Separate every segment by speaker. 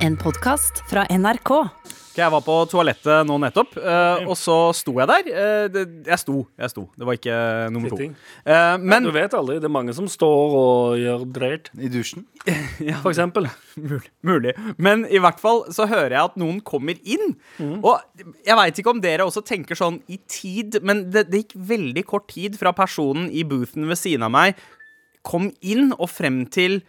Speaker 1: En podkast fra NRK.
Speaker 2: Ok, Jeg var på toalettet nå nettopp, eh, og så sto jeg der. Eh, det- Jeg sto, jeg sto. Det var ikke nummer to.
Speaker 3: Sitting.
Speaker 2: Eh, Men
Speaker 3: Du vet aldri. Det er mange som står og gjør drøyt,
Speaker 4: I dusjen.
Speaker 3: for eksempel.
Speaker 2: Mulig. Men i hvert fall så hører jeg at noen kommer inn.
Speaker 3: Mm.
Speaker 2: Og jeg veit ikke om dere også tenker sånn i tid, men det, det gikk veldig kort tid fra personen i boothen ved siden av meg kom inn og frem til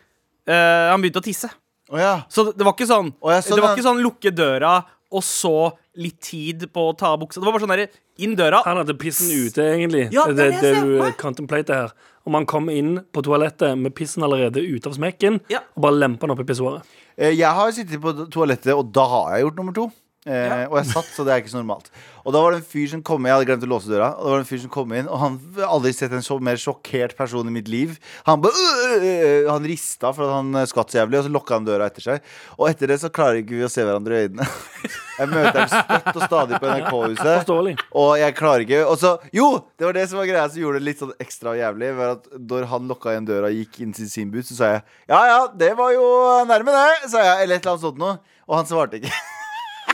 Speaker 2: eh, han begynte å tisse.
Speaker 4: Å ja.
Speaker 2: Så det, det var ikke sånn
Speaker 4: Å, jeg så
Speaker 2: Det var
Speaker 4: den-
Speaker 2: ikke sånn lukke døra og så litt tid på å ta av buksa. Det var bare sånn derre inn døra.
Speaker 3: Han hadde pissen ute, egentlig.
Speaker 2: Ja,
Speaker 3: det
Speaker 2: det er det
Speaker 3: er
Speaker 2: jeg
Speaker 3: det
Speaker 2: ser
Speaker 3: du
Speaker 2: for
Speaker 3: eh,
Speaker 2: meg.
Speaker 3: contemplater her. Om han kom inn på toalettet med pissen allerede ute av smekken,
Speaker 2: Ja.
Speaker 3: og bare lempa han opp i pissoaret.
Speaker 4: Eh, Jeg har sittet på toalettet, og da har jeg gjort nummer to. Eh, Og jeg satt, så det er ikke så normalt. Og da var det en fyr som kom inn, jeg hadde glemt å låse døra. Og det var det en fyr som kom inn, og han jeg har aldri sett en så mer sjokkert person i mitt liv. Han bare øh, øh, Han rista for at han eh, skvatt så jævlig, og så lukka han døra etter seg. Og etter det så klarer ikke vi å se hverandre i øynene. Jeg møter ham støtt og stadig på NRK-huset.
Speaker 3: Forståelig.
Speaker 4: Og jeg klarer ikke Og så, jo! Det var det som var greia som gjorde det litt sånn ekstra jævlig. Var at Når han lukka igjen døra og gikk inn til sin bud, så sa jeg ja ja, det var jo nærme det, sa jeg. Eller et eller annet sånt noe. Og han svarte ikke.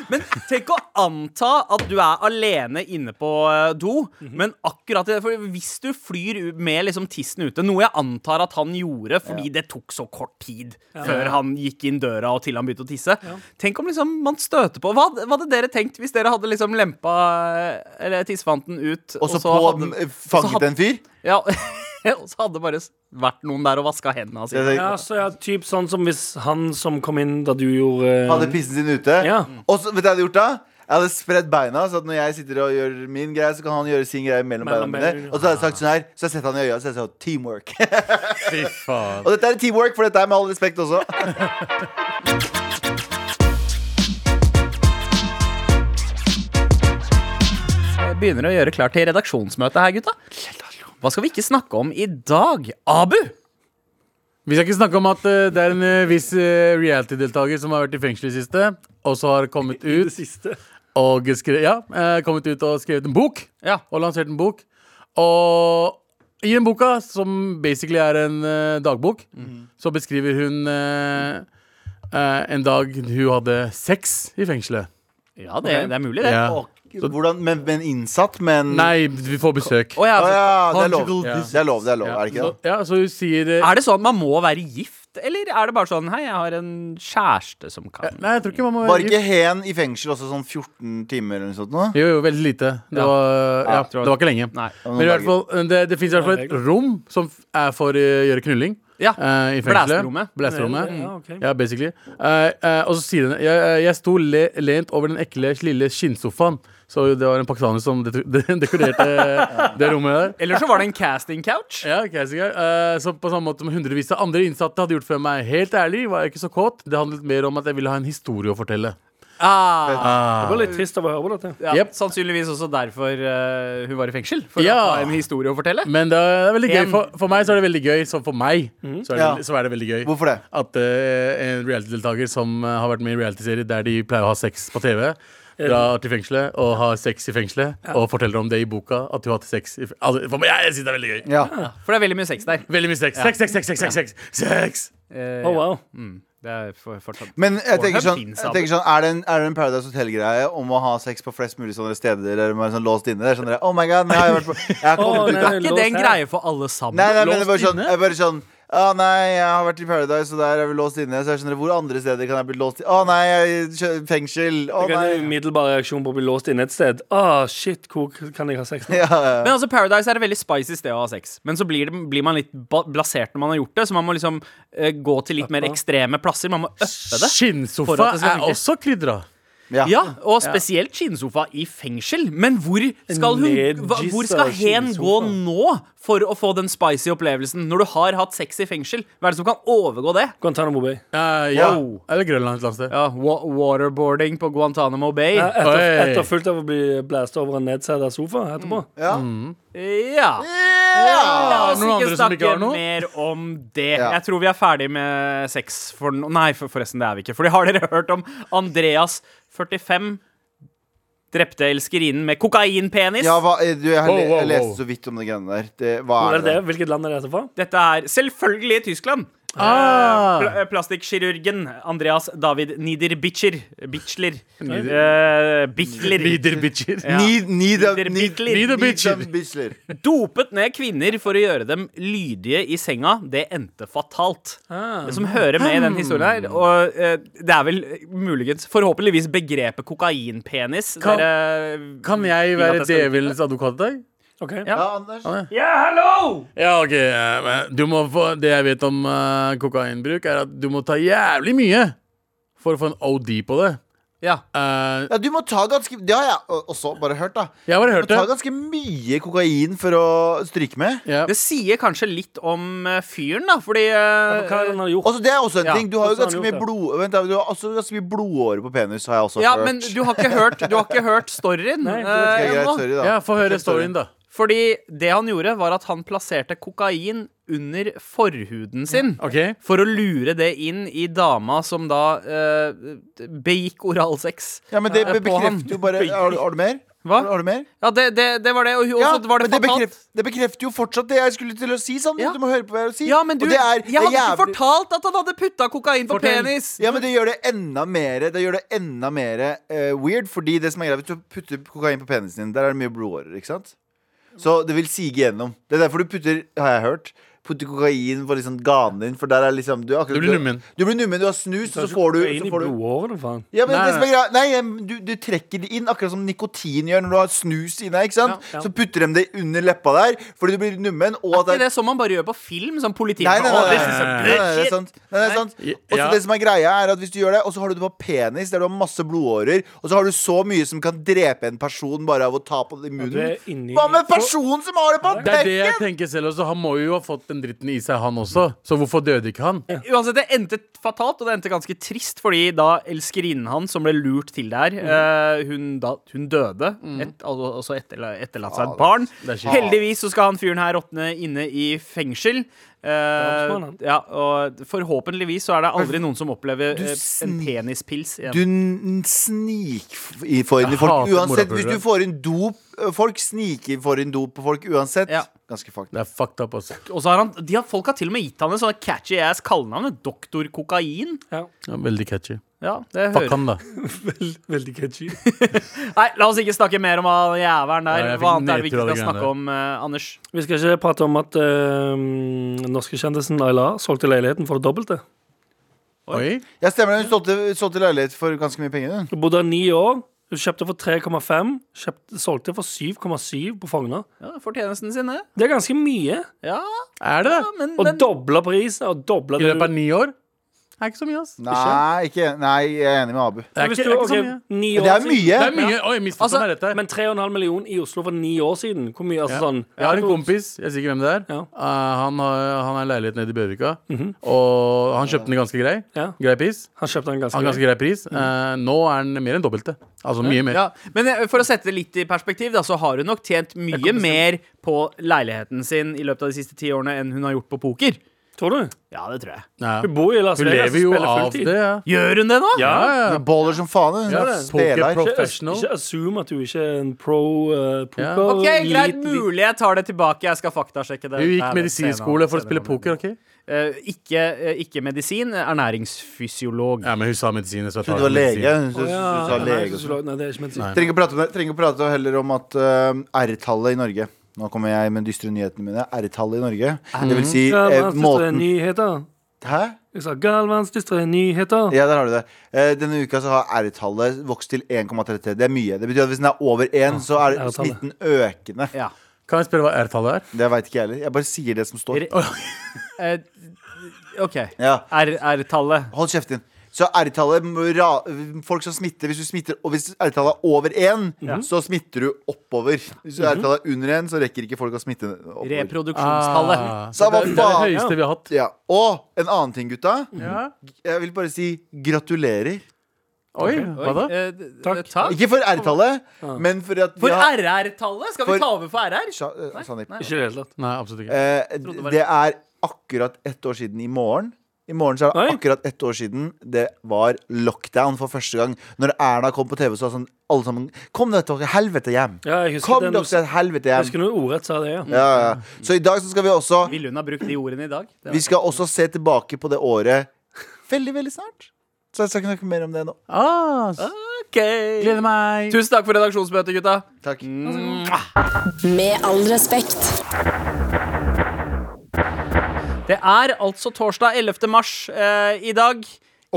Speaker 2: Men tenk å anta at du er alene inne på eh, do, men akkurat det, for hvis du flyr u- med liksom tissen ute, noe jeg antar at han gjorde fordi det tok så kort tid før han gikk inn døra og til han begynte å tisse Tenk om liksom man støter på Hva, hva hadde dere tenkt hvis dere hadde liksom lempa eh, eller tissefanten ut,
Speaker 4: Og så på
Speaker 2: hadde-
Speaker 4: eh,
Speaker 2: og så hadde-
Speaker 4: fanget en fyr.
Speaker 2: Ja, og så hadde det bare s- vært noen der og vaska hendene
Speaker 4: Jeg
Speaker 2: sine.
Speaker 4: tenkte,
Speaker 3: Ja, så ja, typ sånn som hvis han som kom inn da du gjorde eh,
Speaker 4: Hadde pissen sin ute.
Speaker 3: Ja.
Speaker 4: Og så, vet du hva jeg hadde gjort da? Jeg hadde spredt beina, så at når jeg sitter og gjør min greie, så kan han gjøre sin greie mellom beina
Speaker 3: Mellom
Speaker 4: mine.
Speaker 3: beina.
Speaker 4: Og så hadde jeg sagt sånn her, så har jeg sett han i øya, så har jeg sagt teamwork. og dette er teamwork, for dette er med all respekt også.
Speaker 2: Jeg begynner å gjøre klart til redaksjonsmøtet her, gutta. Hva skal vi ikke snakke om i dag? Abu!
Speaker 5: Vi skal ikke snakke om at eh, det er en eh, viss eh, reality-deltaker som har vært i fengsel i det siste, og så har kommet
Speaker 3: det
Speaker 5: ut
Speaker 3: siste.
Speaker 5: og, skre ja, eh, kommet ut og skrevet en bok.
Speaker 2: Ja.
Speaker 5: Og lansert en bok. Og i den boka, som basically er en eh, dagbok,
Speaker 2: Mhm.
Speaker 5: så beskriver hun eh, eh, en dag hun hadde sex i fengselet.
Speaker 2: Ja, det, det er mulig, det.
Speaker 5: Ja.
Speaker 4: Og, hvordan, men, men innsatt, men
Speaker 5: Nei, vi får besøk.
Speaker 2: Å, ja,
Speaker 4: Å
Speaker 2: altså,
Speaker 4: ja, det er lov.
Speaker 5: Conjugal
Speaker 4: Det er lov, det er lov,
Speaker 5: Ja,
Speaker 4: er det ikke
Speaker 5: så,
Speaker 4: det?
Speaker 5: ja, så hun sier eh,
Speaker 2: Er det sånn at man må være gift, eller er det bare sånn Hei, jeg har en kjæreste som kan
Speaker 5: Eh, Nei, jeg tror ikke man må
Speaker 4: Var
Speaker 5: være
Speaker 4: ikke
Speaker 5: gift.
Speaker 4: hen i fengsel også sånn 14 timer eller noe sånt? nå?
Speaker 5: Jo, jo, veldig lite. Det
Speaker 2: Ja.
Speaker 5: var, ja,
Speaker 2: tror jeg-
Speaker 5: det var ikke lenge.
Speaker 2: Nei.
Speaker 4: Ja, noen
Speaker 5: Men i hvert
Speaker 4: dager.
Speaker 5: fall, eh, det, det finnes i hvert fall et rom som f- er for eh, å gjøre knulling.
Speaker 2: Ja.
Speaker 5: eh, i fengselet.
Speaker 2: Blæsterommet.
Speaker 5: Blæsterommet.
Speaker 3: Ja, ok.
Speaker 5: Ja, basically. Eh, eh, og så sier hun Jeg, jeg sto le, lent over den ekle, lille skinnsofaen. Så det var en pakistaner som det- det- dekorerte det rommet der.
Speaker 2: Eller så var det en casting couch.
Speaker 5: Ja, ok, sikkert. Eh, så på samme måte som hundrevis av andre innsatte hadde gjort før meg. Helt ærlig var jeg ikke så kåt. Det handlet mer om at jeg ville ha en historie å fortelle.
Speaker 2: Ah,
Speaker 3: Det var litt trist av å høre på dette.
Speaker 2: ja,
Speaker 5: Jep.
Speaker 2: Sannsynligvis også derfor eh, hun var i fengsel. For
Speaker 5: Ja.
Speaker 2: å ha en historie å fortelle.
Speaker 5: Men det er, det er veldig
Speaker 2: En.
Speaker 5: gøy. For, for meg så er det veldig gøy. Så for meg så, er det,
Speaker 4: Ja.
Speaker 5: veldig- så er det veldig gøy.
Speaker 4: Hvorfor det?
Speaker 5: at eh, en reality-deltaker som eh, har vært med i reality-serier der de pleier å ha sex på TV, drar til fengselet og har sex i fengselet og forteller om det i boka. At du har hatt sex i fe- altså, for meg, Jeg syns det er veldig gøy.
Speaker 4: Ja.
Speaker 2: For det er veldig mye sex der.
Speaker 5: Veldig mye sex. Sex, sex, sex, sex, sex, sex, sex.
Speaker 2: Eh,
Speaker 3: Å,
Speaker 5: Oh,
Speaker 3: Oh, wow.
Speaker 2: Det er for, fortsatt
Speaker 4: Men jeg tenker
Speaker 2: Pornhub
Speaker 4: sånn,
Speaker 2: finnes,
Speaker 4: jeg
Speaker 2: Abu.
Speaker 4: tenker sånn er, det en, er det en Paradise Hotel-greie om å ha sex på flest mulig sånne steder? Eller man er sånn låst inne? Det er Sånn, der, oh my god, nei, jeg har vært på jeg har
Speaker 3: Å,
Speaker 4: kommet ut
Speaker 3: nei,
Speaker 4: av
Speaker 2: Er ikke det en greie for alle sammen?
Speaker 4: Nei, nei, men det er bare
Speaker 5: Låst
Speaker 4: sånn,
Speaker 5: inne?
Speaker 4: jeg er bare sånn Å nei, jeg har vært i Paradise, og der er vi låst inne. Så jeg skjønner, Hvor andre steder kan jeg bli låst i? Å nei, jeg er i kjø- fengsel. Å
Speaker 3: Jeg kan
Speaker 4: nei.
Speaker 3: umiddelbar reaksjon på å bli låst inne et sted. Ah, shit, hvor kan jeg ha sex nå?
Speaker 4: Ja, ja, ja.
Speaker 2: Men altså Paradise er et veldig spicy sted å ha sex. Men så blir, det, blir man litt ba- blasert når man har gjort det, så man må liksom eh, gå til litt mer ekstreme plasser. Man må øppe det. For
Speaker 5: Skinnsofa
Speaker 2: at det skal
Speaker 5: er
Speaker 2: funke.
Speaker 5: også krydra.
Speaker 4: Ja.
Speaker 2: Ja, og spesielt skinnsofa i fengsel. Men hvor skal hun hva, Hvor skal hen gå
Speaker 3: skinnsofa.
Speaker 2: nå for å få den spicy opplevelsen? Når du har hatt sex i fengsel, hva er det som kan overgå det?
Speaker 3: Guantánamo Bay.
Speaker 5: Eh, ja.
Speaker 4: Wow.
Speaker 5: Eller Grønland et eller annet sted.
Speaker 2: Ja, wa Waterboarding på Guantánamo Bay.
Speaker 3: Ja, Etter,
Speaker 5: Oi.
Speaker 3: etterfulgt av å bli blæst over en nedsida sofa etterpå.
Speaker 2: Mm.
Speaker 4: Ja.
Speaker 2: Ja. La oss
Speaker 5: Noen
Speaker 2: ikke
Speaker 5: andre som ikke
Speaker 2: snakke
Speaker 5: har noe?
Speaker 2: mer om det.
Speaker 4: Ja.
Speaker 2: Jeg tror vi er ferdig med sex for nå. Nei, for, forresten, det er vi ikke. Fordi har dere hørt om Andreas 45 drepte elskerinnen med kokainpenis?
Speaker 4: ja hva, eh, du, jeg, har
Speaker 5: Wow,
Speaker 4: le-
Speaker 5: wow,
Speaker 4: jeg leste
Speaker 5: wow.
Speaker 4: så vidt om de greiene der. Det, hva
Speaker 3: Hvor
Speaker 4: er
Speaker 3: er det?
Speaker 4: det?
Speaker 3: Hvilket land er dette fra?
Speaker 2: Dette er selvfølgelig i Tyskland. Eh,
Speaker 5: Ah.
Speaker 2: Pla plastikkirurgen Andreas David Niederbitcher. Bitchler.
Speaker 5: Nieder-
Speaker 2: Eh, Bitler.
Speaker 5: Liderbitcher.
Speaker 2: Ja.
Speaker 4: Need, need,
Speaker 2: Neither
Speaker 4: need,
Speaker 2: bitler.
Speaker 4: need, need
Speaker 5: Neither
Speaker 4: some bitchler.
Speaker 2: Dopet ned kvinner for å gjøre dem lydige i senga. Det endte fatalt.
Speaker 3: Ah.
Speaker 2: Det som hører med i den historien her, og eh, det er vel muligens Forhåpentligvis begrepet kokainpenis.
Speaker 5: Kan-
Speaker 2: dere- eh,
Speaker 5: Kan jeg
Speaker 2: vil at jeg
Speaker 5: være
Speaker 2: skal-
Speaker 5: djevelens advokat i dag?
Speaker 3: OK.
Speaker 2: Ja.
Speaker 4: Ja, Anders.
Speaker 2: Ja, hallo!
Speaker 5: Ja, ok. eh, men Du må få, det jeg vet om eh, kokainbruk, er at du må ta jævlig mye for å få en OD på det.
Speaker 2: Ja.
Speaker 5: Eh,
Speaker 4: Ja, du må ta ganske Det har jeg o- også bare hørt, da.
Speaker 5: jeg har bare
Speaker 4: Du må
Speaker 5: hørt
Speaker 4: ta
Speaker 5: det.
Speaker 4: ganske mye kokain for å stryke med.
Speaker 5: Ja.
Speaker 2: Det sier kanskje litt om eh, fyren, da, fordi
Speaker 3: Hva
Speaker 2: eh,
Speaker 3: har han har gjort?
Speaker 4: Altså, det er også en
Speaker 2: Ja,
Speaker 4: ting. Du har jo
Speaker 3: også har han
Speaker 4: ganske
Speaker 3: gjort
Speaker 4: mye
Speaker 3: det.
Speaker 4: blod Vent, da, du har også ganske mye blodåre på penis, har jeg også
Speaker 2: Ja,
Speaker 4: hørt.
Speaker 2: men du har ikke hørt, du har ikke hørt storyen.
Speaker 3: Nei, det
Speaker 2: eh,
Speaker 4: Ok, greit,
Speaker 2: ennå.
Speaker 4: sorry, da.
Speaker 5: Ja, Få høre storyen, da.
Speaker 2: Fordi det han gjorde, var at han plasserte kokain under forhuden sin.
Speaker 5: Ok?
Speaker 2: For å lure det inn i dama som da eh, begikk oralsex.
Speaker 4: Ja, men det
Speaker 2: Ja,
Speaker 4: be-
Speaker 2: på han.
Speaker 4: bekrefter jo bare har, du- har du mer?
Speaker 2: Hva?
Speaker 4: Har, du- har du mer?
Speaker 2: Ja, det, det, det var det. Og hun-
Speaker 4: Ja,
Speaker 2: også var det
Speaker 4: men det,
Speaker 2: fatalt.
Speaker 4: bekrefter, det bekrefter jo fortsatt det jeg skulle til å si, Sander.
Speaker 2: Ja.
Speaker 4: Du må høre på hva jeg sier.
Speaker 2: Ja, men du,
Speaker 4: Og det er,
Speaker 2: jeg hadde
Speaker 4: det er
Speaker 2: ikke
Speaker 4: jævlig-
Speaker 2: fortalt at han hadde putta kokain på
Speaker 3: Fortell.
Speaker 2: penis!
Speaker 4: Ja, men det gjør det enda mer Det gjør det enda mer eh, weird, fordi det som er greit, hvis du putter kokain på penisen din, der er det mye blodårer, ikke sant? Så det vil sige gjennom. Det er derfor du putter, har jeg hørt, putter kokain på liksom ganen din, for der er liksom Du, er akkurat,
Speaker 5: Du blir nummen.
Speaker 4: Du, blir nummen, du har snus, og så får du,
Speaker 3: Inn
Speaker 4: så
Speaker 3: i
Speaker 4: får du
Speaker 3: blodårene, faen.
Speaker 4: ja, men
Speaker 5: Nei,
Speaker 4: det som er greit, nei, du, du trekker det inn, akkurat som nikotin gjør når du har snus i deg. ikke sant?
Speaker 3: Ja, ja.
Speaker 4: Så putter de det under leppa der, fordi du blir nummen. og
Speaker 2: Det
Speaker 4: at
Speaker 2: er
Speaker 4: det
Speaker 2: det som man bare gjør på film. Sånn politiet
Speaker 4: Nei, nei,
Speaker 2: Å,
Speaker 4: nei, nei,
Speaker 2: this is a
Speaker 4: nei,
Speaker 2: bitch.
Speaker 4: nei, nei, det er sant. Nei, det er sant. Og så
Speaker 5: Ja.
Speaker 4: det som er greia, er at hvis du gjør det, og så har du det på penis, der du har masse blodårer, og så har du så mye som kan drepe en person bare av å ta på
Speaker 3: Du
Speaker 4: det i
Speaker 3: er
Speaker 4: munnen.
Speaker 3: inni
Speaker 4: Hva med personen som har det på
Speaker 5: Det er det jeg
Speaker 4: bekken?!
Speaker 5: tenker selv også. Han må jo ha fått den dritten i seg, han også. Så hvorfor døde ikke han?
Speaker 2: Uansett, det endte fatalt, og det endte ganske trist, fordi da elskerinnen hans, som ble lurt til der,
Speaker 5: Mhm.
Speaker 2: eh, hun, da, hun døde, et, al- altså etterla, etterlatt seg et barn.
Speaker 5: det er kjipt.
Speaker 2: Heldigvis så skal han fyren her råtne inne i fengsel. Eh,
Speaker 3: Drapsmann, han.
Speaker 2: ja, og forhåpentligvis så er det aldri noen som opplever
Speaker 4: Du
Speaker 2: eh, en
Speaker 4: sni-
Speaker 2: penispils igjen.
Speaker 4: Du n- snikfor inn i
Speaker 5: Jeg
Speaker 4: folk
Speaker 5: hater
Speaker 4: uansett. Hvis
Speaker 5: morapulere.
Speaker 4: du får inn dop eh, folk, sniker for inn dop på folk uansett.
Speaker 2: Ja.
Speaker 4: Ganske fucked.
Speaker 5: Det er fucked up, altså.
Speaker 2: Og så har han, de har, folk har til og med gitt han en sånn catchy ass kallenavn, doktor kokain.
Speaker 3: Ja,
Speaker 5: Ja, veldig catchy.
Speaker 2: Ja, det
Speaker 5: Fuck
Speaker 2: hører
Speaker 5: han, da.
Speaker 3: vel- veldig catchy.
Speaker 2: Nei, la oss ikke snakke mer om han jævelen der.
Speaker 5: Ja, jeg fikk
Speaker 2: Hva annet er det vi
Speaker 5: nedtur
Speaker 2: ikke
Speaker 5: av
Speaker 2: skal
Speaker 5: det
Speaker 2: snakke om, eh, Anders?
Speaker 3: Vi skal ikke prate om at eh, norske kjendisen Ayla solgte leiligheten for det dobbelte.
Speaker 5: Oi.
Speaker 4: Jeg stemmer det. Hun solgte solgte leilighet for ganske mye penger. Hun.
Speaker 3: Hun bodde her ni år. Hun kjøpte for 3,5. kjøpte- Solgte for 7,7 på Fogna.
Speaker 2: Ja, fortjenesten sin, det.
Speaker 3: Det er ganske mye.
Speaker 2: Ja,
Speaker 5: Er det det?
Speaker 2: men,
Speaker 3: Og
Speaker 2: men
Speaker 3: dobla prisen. Og dobla
Speaker 5: I løpet av ni år? Det er ikke så mye, ass.
Speaker 4: Nei, ikke, nei, jeg er enig med Abu.
Speaker 5: Det er
Speaker 3: Hvis
Speaker 5: ikke,
Speaker 3: du-
Speaker 5: det er ikke så
Speaker 3: ok,
Speaker 5: mye.
Speaker 3: ni
Speaker 4: Det
Speaker 3: år
Speaker 4: er
Speaker 3: siden-
Speaker 4: mye.
Speaker 5: Det er mye. Oi, misforstått meg rett her.
Speaker 3: Men 3,5 millioner i Oslo for ni år siden. Hvor mye? Altså sånn
Speaker 5: Jeg har en kompis, jeg sier ikke hvem det er.
Speaker 3: Ja.
Speaker 5: Eh, han, har, han har en leilighet nede i Bjørvika. Og han kjøpte den i ganske grei.
Speaker 3: Ja.
Speaker 5: Grei pris.
Speaker 3: Han kjøpte den ganske
Speaker 5: Han har ganske grei pris. Eh, nå er den mer enn dobbelte. Altså mye mer.
Speaker 2: Ja, men eh, for å sette det litt i perspektiv, da, så har hun nok tjent mye mer på leiligheten sin i løpet av de siste ti årene enn hun har gjort på poker.
Speaker 3: Tror du?
Speaker 2: Ja, det tror jeg.
Speaker 5: Ja.
Speaker 3: Hun bor i Las
Speaker 5: Hun
Speaker 3: Vegas og
Speaker 5: lever jo
Speaker 3: spiller
Speaker 5: av
Speaker 3: fulltid.
Speaker 5: det. Ja.
Speaker 2: Gjør hun det nå?
Speaker 3: Ja.
Speaker 5: Ja, ja.
Speaker 4: Hun baller som faen. Hun
Speaker 5: Ja,
Speaker 4: ja,
Speaker 5: poker
Speaker 4: speler.
Speaker 5: professional.
Speaker 3: Ikke assume at du ikke er en pro eh,
Speaker 5: Ja.
Speaker 3: poker.
Speaker 2: OK, greit.
Speaker 3: Lit- lit-
Speaker 2: Mulig jeg tar det tilbake. Jeg skal faktasjekke det.
Speaker 5: Hun
Speaker 2: Nei,
Speaker 5: gikk
Speaker 2: det er
Speaker 5: medisinskole for
Speaker 2: senere.
Speaker 5: å spille poker, OK?
Speaker 2: Eh, ikke, eh, ikke medisin. Ernæringsfysiolog.
Speaker 5: Ja, men hun sa medisin. Så jeg tar
Speaker 4: Du var
Speaker 5: medisin.
Speaker 4: lege. Hun
Speaker 3: Å,
Speaker 4: synes-
Speaker 3: ja.
Speaker 4: hun sa
Speaker 3: Nei,
Speaker 4: lege. og sånn.
Speaker 3: sosiolog- Nei, det er ikke medisin.
Speaker 5: Nei.
Speaker 4: Trenger å prate, om det- trenger å prate heller om at eh, R-tallet i Norge Nå kommer jeg med de dystre nyhetene mine. R-tallet i Norge. Det vil si
Speaker 3: Ja,
Speaker 4: eh,
Speaker 3: Galvans dystre
Speaker 4: måten
Speaker 3: nyheter.
Speaker 4: Hæ?
Speaker 3: Jeg sa Galvans dystre nyheter.
Speaker 4: Ja, der har du det. Eh, denne uka så har R-tallet vokst til 1,33. Det er mye. Det betyr at hvis den er over 1, så er
Speaker 3: R-tallet.
Speaker 4: snitten økende.
Speaker 2: Ja.
Speaker 5: Kan jeg spørre hva R-tallet er?
Speaker 4: Det veit ikke jeg heller. Jeg bare sier det som står.
Speaker 2: Re- Eh, OK.
Speaker 4: Ja.
Speaker 2: R-tallet.
Speaker 4: Hold kjeft din. Så R-tallet må ra- Folk som smitter Hvis du smitter Og hvis R-tallet er over 1, så smitter du oppover. Hvis R-tallet er under 1, så rekker ikke folk å smitte oppover.
Speaker 2: Reproduksjonstallet.
Speaker 5: så det,
Speaker 4: Samme
Speaker 5: det er
Speaker 4: faen,
Speaker 5: det høyeste vi har hatt.
Speaker 4: Ja. Og en annen ting, gutta.
Speaker 5: Ja.
Speaker 4: Jeg vil bare si gratulerer.
Speaker 5: Oi, hva da?
Speaker 2: Eh, d- d-
Speaker 3: Takk.
Speaker 4: Ikke for R-tallet, men for at
Speaker 2: For
Speaker 4: vi har-
Speaker 2: RR-tallet? Skal
Speaker 4: For-
Speaker 2: vi ta over for RR?
Speaker 4: Sja- eh, Sandeep.
Speaker 3: Ikke i det hele tatt.
Speaker 5: Nei, absolutt ikke.
Speaker 4: Eh,
Speaker 2: det var-
Speaker 4: det er akkurat ett år siden i morgen I morgen så er det
Speaker 3: Oi.
Speaker 4: akkurat ett år siden det var lockdown for første gang. Når Erna kom på TV, så var det sånn alle sammen Kom dere til helvete hjem!
Speaker 3: Ja, jeg husker
Speaker 4: Kom
Speaker 3: det
Speaker 4: dere
Speaker 3: når-
Speaker 4: til
Speaker 3: jeg
Speaker 4: helvete hjem!
Speaker 3: husker når ordrett sa det, ja.
Speaker 4: Ja, ja. Så i dag så skal vi også
Speaker 2: Ville hun ha brukt de ordene i dag? Det
Speaker 4: Vi skal også se tilbake på det året veldig, veldig snart. Så jeg skal ikke snakke mer om det nå.
Speaker 5: Ah, s- gleder meg.
Speaker 2: Tusen takk for redaksjonsmøtet, gutta.
Speaker 4: Takk.
Speaker 1: Med all respekt.
Speaker 2: Det er altså torsdag 11. mars eh, i dag.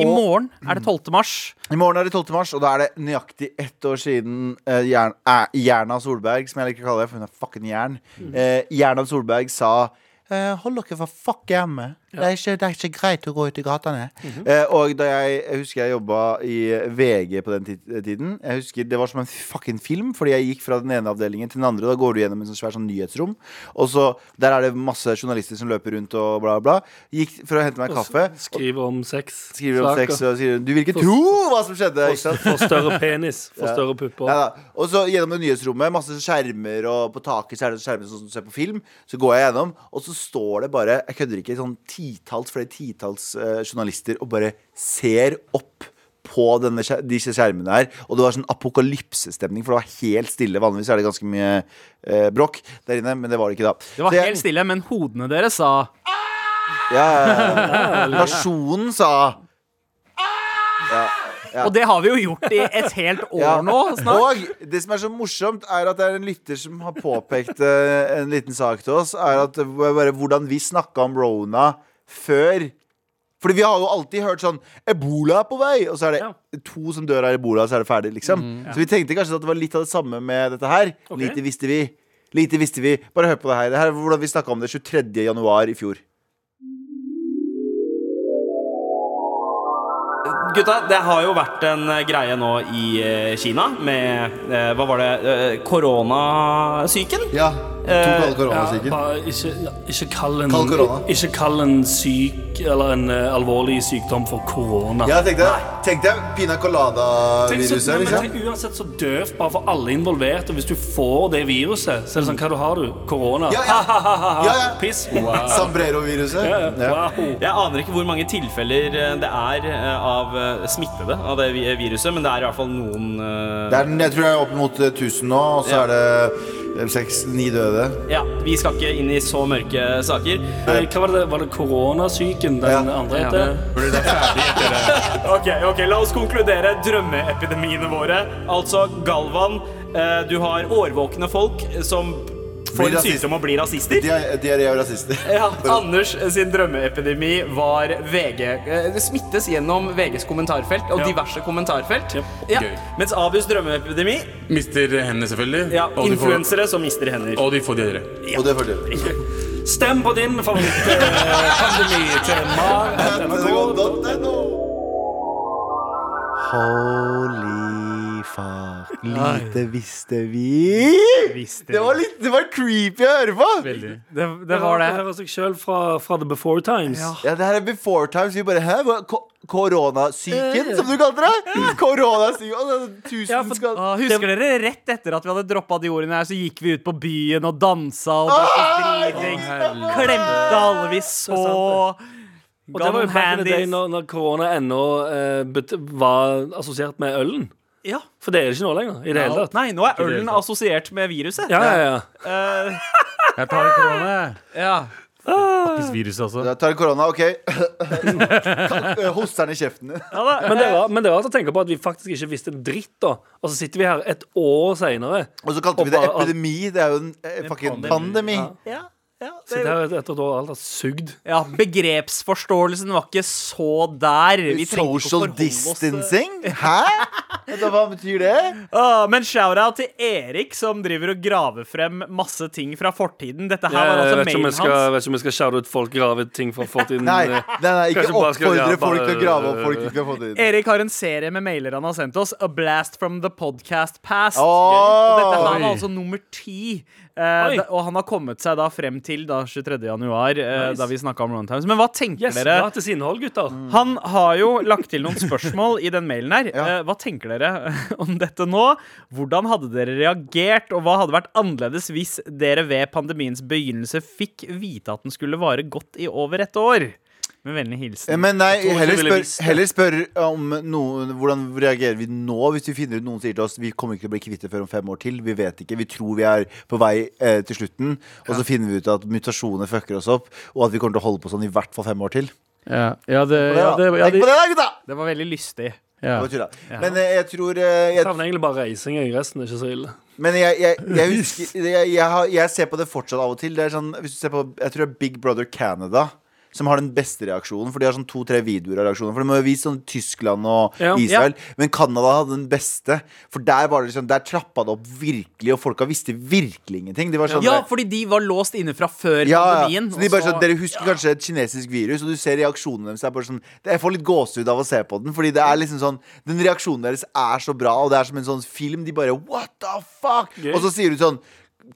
Speaker 2: I morgen er det 12. mars.
Speaker 4: I morgen er det 12. mars, og da er det nøyaktig ett år siden eh, Jern, eh, Jerna Solberg, som jeg liker å kalle det, for hun er fucking jern. Eh, Jerna Solberg sa eh, Hold dere for fuck hjemme. Det, er ikke, det er ikke greit å gå ut i gatene. Eh, og da jeg, jeg husker jeg jobba i VG på den ti- tiden. Jeg husker Det var som en fucking film, fordi jeg gikk fra den ene avdelingen til den andre. Da går du gjennom en sånn svær sånn nyhetsrom, og så der er det masse journalister som løper rundt og bla, bla. Gikk for å hente meg kaffe.
Speaker 3: Skriver om sex.
Speaker 4: Skriver om
Speaker 3: Saker.
Speaker 4: sex og sier Du vil ikke tro hva som skjedde! Ikke sant?
Speaker 3: Får større penis, får større pupper.
Speaker 4: Neida. Og så gjennom det nyhetsrommet, masse skjermer, og på taket så er det skjermer sånn som du ser på film. Så går jeg gjennom, og så står det bare, jeg kødder ikke, sånn titalls, flere titalls eh, journalister og bare ser opp på denne, skjer- disse skjermene her. Og det var sånn apokalypsestemning, for det var helt stille. Vanligvis er det ganske mye eh, bråk der inne, men det var det ikke da.
Speaker 2: Det var
Speaker 4: Så jeg-
Speaker 2: helt stille, men hodene deres sa
Speaker 4: Ja, ja, ja. Nasjonen sa
Speaker 2: Og det har vi jo gjort i et helt år
Speaker 4: Ja.
Speaker 2: nå snart.
Speaker 4: Og det som er så morsomt, er at det er en lytter som har påpekt eh, en liten sak til oss. Er at eh, bare hvordan vi snakka om rona før. Fordi vi har jo alltid hørt sånn Ebola er på vei! Og så er det
Speaker 3: Ja. Mm,
Speaker 4: to som dør av ebola, og så er det ferdig, liksom. Så vi tenkte kanskje at det var litt av det samme med dette her. Lite visste vi. Lite visste vi. Bare hør på det her. Det her er hvordan vi snakka om det 23. januar i fjor.
Speaker 6: Gutta, det har jo vært en eh, greie nå i eh, Kina med eh, Hva var det? eh, Koronasyken?
Speaker 4: Ja.
Speaker 3: Eh,
Speaker 6: tok alle
Speaker 3: Ja, bare ikke, ikke kall en,
Speaker 4: Kall korona.
Speaker 3: ikke kall en syk eller en eh, alvorlig sykdom for korona.
Speaker 4: Ja, tenkte jeg. Tenkte jeg
Speaker 3: Tenk
Speaker 4: Pina
Speaker 3: så-
Speaker 4: colada-viruset,
Speaker 3: nei, men
Speaker 4: liksom.
Speaker 3: tenk uansett så døvt, bare for alle involvert. Og hvis du får det viruset, så er det sånn Hva du har du? Korona?
Speaker 4: Ja, ja.
Speaker 3: Ha-ha-ha-ha.
Speaker 4: Ja, ja.
Speaker 3: Piss. Wow.
Speaker 4: Sambrero-viruset.
Speaker 3: Ja, ja.
Speaker 4: Ja.
Speaker 3: wow.
Speaker 6: Jeg aner ikke hvor mange tilfeller eh, det er eh, av eh, smittede av det vi- viruset, men det er i hvert fall noen eh,
Speaker 4: Det er, den- jeg tror jeg er opp mot eh, 1000 nå, og så
Speaker 6: Ja.
Speaker 4: er det seks-ni døde.
Speaker 6: Ja, vi skal ikke inn i så mørke saker.
Speaker 3: Eh, Hva var det? Var det koronasyken den
Speaker 4: Ja.
Speaker 3: andre heter?
Speaker 6: Ok, ok, La oss konkludere drømmeepidemiene våre. Altså, Galvan, eh, du har årvåkne folk som
Speaker 4: Blir
Speaker 6: får en
Speaker 4: rasist.
Speaker 6: sykdom og blir rasister.
Speaker 4: De er, de er, de er jo rasister.
Speaker 6: Ja, Anders sin drømmeepidemi var VG. Eh, Det smittes gjennom VGs kommentarfelt og
Speaker 3: Ja.
Speaker 6: diverse kommentarfelt.
Speaker 3: Yep.
Speaker 6: Ja.
Speaker 5: Gøy.
Speaker 6: Mens Abus drømmeepidemi
Speaker 5: Mister hendene, selvfølgelig.
Speaker 6: ja,
Speaker 5: og, de får,
Speaker 6: influensere som mister hender.
Speaker 5: og de får diaré.
Speaker 4: Og det følger vi.
Speaker 3: Stem på din favorittpandemi til mar.nrk.
Speaker 4: Holy fuck. Lite visste vi.
Speaker 2: Visste
Speaker 4: Det var litt det var creepy å høre på.
Speaker 5: Veldig.
Speaker 2: Det, det var det.
Speaker 3: hører seg selv fra, fra The Before Times.
Speaker 4: Ja, det her er before times. Vi bare Hæ? Hva- ko- Koronasyken, som du kalte det? Koronasyken. altså,
Speaker 3: Ja,
Speaker 4: Tusen
Speaker 3: for-
Speaker 4: skal...
Speaker 2: Å, husker dere rett etter at vi hadde droppa de ordene her, så gikk vi ut på byen og dansa og drakk oss dritings. Klemte alle vi så.
Speaker 3: Og det var jo
Speaker 2: Gun
Speaker 3: back in the day
Speaker 2: handies.
Speaker 3: når, når korona ennå eh, bet- var assosiert med ølen.
Speaker 2: Ja.
Speaker 3: For det er det ikke nå lenger. I det hele tatt.
Speaker 2: Nei, nå er ølen assosiert med viruset.
Speaker 3: Ja, ja, ja.
Speaker 5: Jeg tar en korona. jeg.
Speaker 2: Ja.
Speaker 5: Fuckings virus, altså.
Speaker 4: Jeg tar korona, OK. Hoster den i kjeften din.
Speaker 2: Ja, da.
Speaker 3: Men det, er rart, men det er rart å tenke på at vi faktisk ikke visste en dritt, da. Og så sitter vi her et år seinere.
Speaker 4: Og så kalte vi det
Speaker 3: Og bare-
Speaker 4: epidemi. Det er jo en eh, fucking pandemi.
Speaker 2: Ja, ja, det-
Speaker 3: Sitter her et- etter et år alt har sugd.
Speaker 2: ja, begrepsforståelsen var ikke så der. Vi trengte ikke å
Speaker 4: Social
Speaker 2: forholde oss eh. til-
Speaker 4: distancing? Hæ? Da, hva betyr det?
Speaker 2: Åh, men shout-out til Erik, som driver og graver frem masse ting fra fortiden. Dette her var
Speaker 3: Jeg
Speaker 2: altså
Speaker 3: vet ikke om
Speaker 2: mailen
Speaker 3: jeg skal,
Speaker 2: hans.
Speaker 3: vet ikke om jeg skal shoute ut folk grave ting fra fortiden.
Speaker 4: Nei, nei, nei ikke
Speaker 3: Kanskje bare skal-
Speaker 4: oppfordre
Speaker 3: ja,
Speaker 4: folk til å
Speaker 3: bare-
Speaker 4: grave opp folk de ikke har fått ut.
Speaker 2: Erik har en serie med mailer han har sendt oss. A Blast from the Podcast Past.
Speaker 4: Åh!
Speaker 2: Og dette her var
Speaker 5: Oi.
Speaker 2: altså nummer ti. Eh,
Speaker 3: Oi.
Speaker 2: da- og han har kommet seg da frem til da 23. januar, eh,
Speaker 3: Nice.
Speaker 2: da vi snakka om Runtimes. Men hva tenker
Speaker 3: Yes,
Speaker 2: dere?
Speaker 3: gratis innhold, gutter.
Speaker 2: Han har jo lagt til noen spørsmål i den mailen her. Eh, Hva tenker dere om dette nå? Hvordan hadde dere reagert, og hva hadde vært annerledes hvis dere ved pandemiens begynnelse fikk vite at den skulle vare godt i over et år? Med vennlig hilsen.
Speaker 4: Eh, Men nei,
Speaker 3: tror ikke
Speaker 4: heller
Speaker 3: jeg ville
Speaker 4: spør,
Speaker 3: visst det.
Speaker 4: heller spør om noen, hvordan reagerer vi nå hvis vi finner ut noen sier til oss Vi kommer ikke til å bli kvitt det før om fem år til. Vi vet ikke. Vi tror vi er på vei eh, til slutten. Og så finner vi ut at mutasjoner fucker oss opp, og at vi kommer til å holde på sånn i hvert fall fem år til.
Speaker 5: Ja, ja, det,
Speaker 4: Tenk
Speaker 5: ja,
Speaker 4: på det,
Speaker 5: det,
Speaker 4: da!
Speaker 5: ja,
Speaker 4: Tenk
Speaker 5: det,
Speaker 4: på det, da, gutta!
Speaker 2: Det var veldig lystig.
Speaker 5: ja.
Speaker 4: Det var tulla. Men eh, jeg tror eh, jeg,
Speaker 3: Savner egentlig bare reising. jeg. Resten er ikke så ille.
Speaker 4: Men jeg, jeg, jeg husker jeg, jeg, har, jeg ser på det fortsatt av og til. Det er sånn, hvis du ser på, jeg tror det er Big Brother Canada som har den beste reaksjonen. For de har sånn to-tre videoer av reaksjoner. For de har vist sånn Tyskland og
Speaker 3: Ja.
Speaker 4: Israel. Men Canada hadde den beste. For der var det sånn, der trappa det opp virkelig, og folka visste virkelig ingenting. De var sånn
Speaker 2: Ja, fordi de var låst inne fra før
Speaker 4: ja, ja.
Speaker 2: pandemien.
Speaker 4: Så de
Speaker 2: og
Speaker 4: bare
Speaker 2: så-
Speaker 4: sånn, Dere husker kanskje et kinesisk virus, og du ser reaksjonene deres. er bare sånn, det- jeg får litt gåsehud av å se på den. Fordi det er liksom sånn, Den reaksjonen deres er så bra, og det er som en sånn film. De bare What the fuck? Og så sier du sånn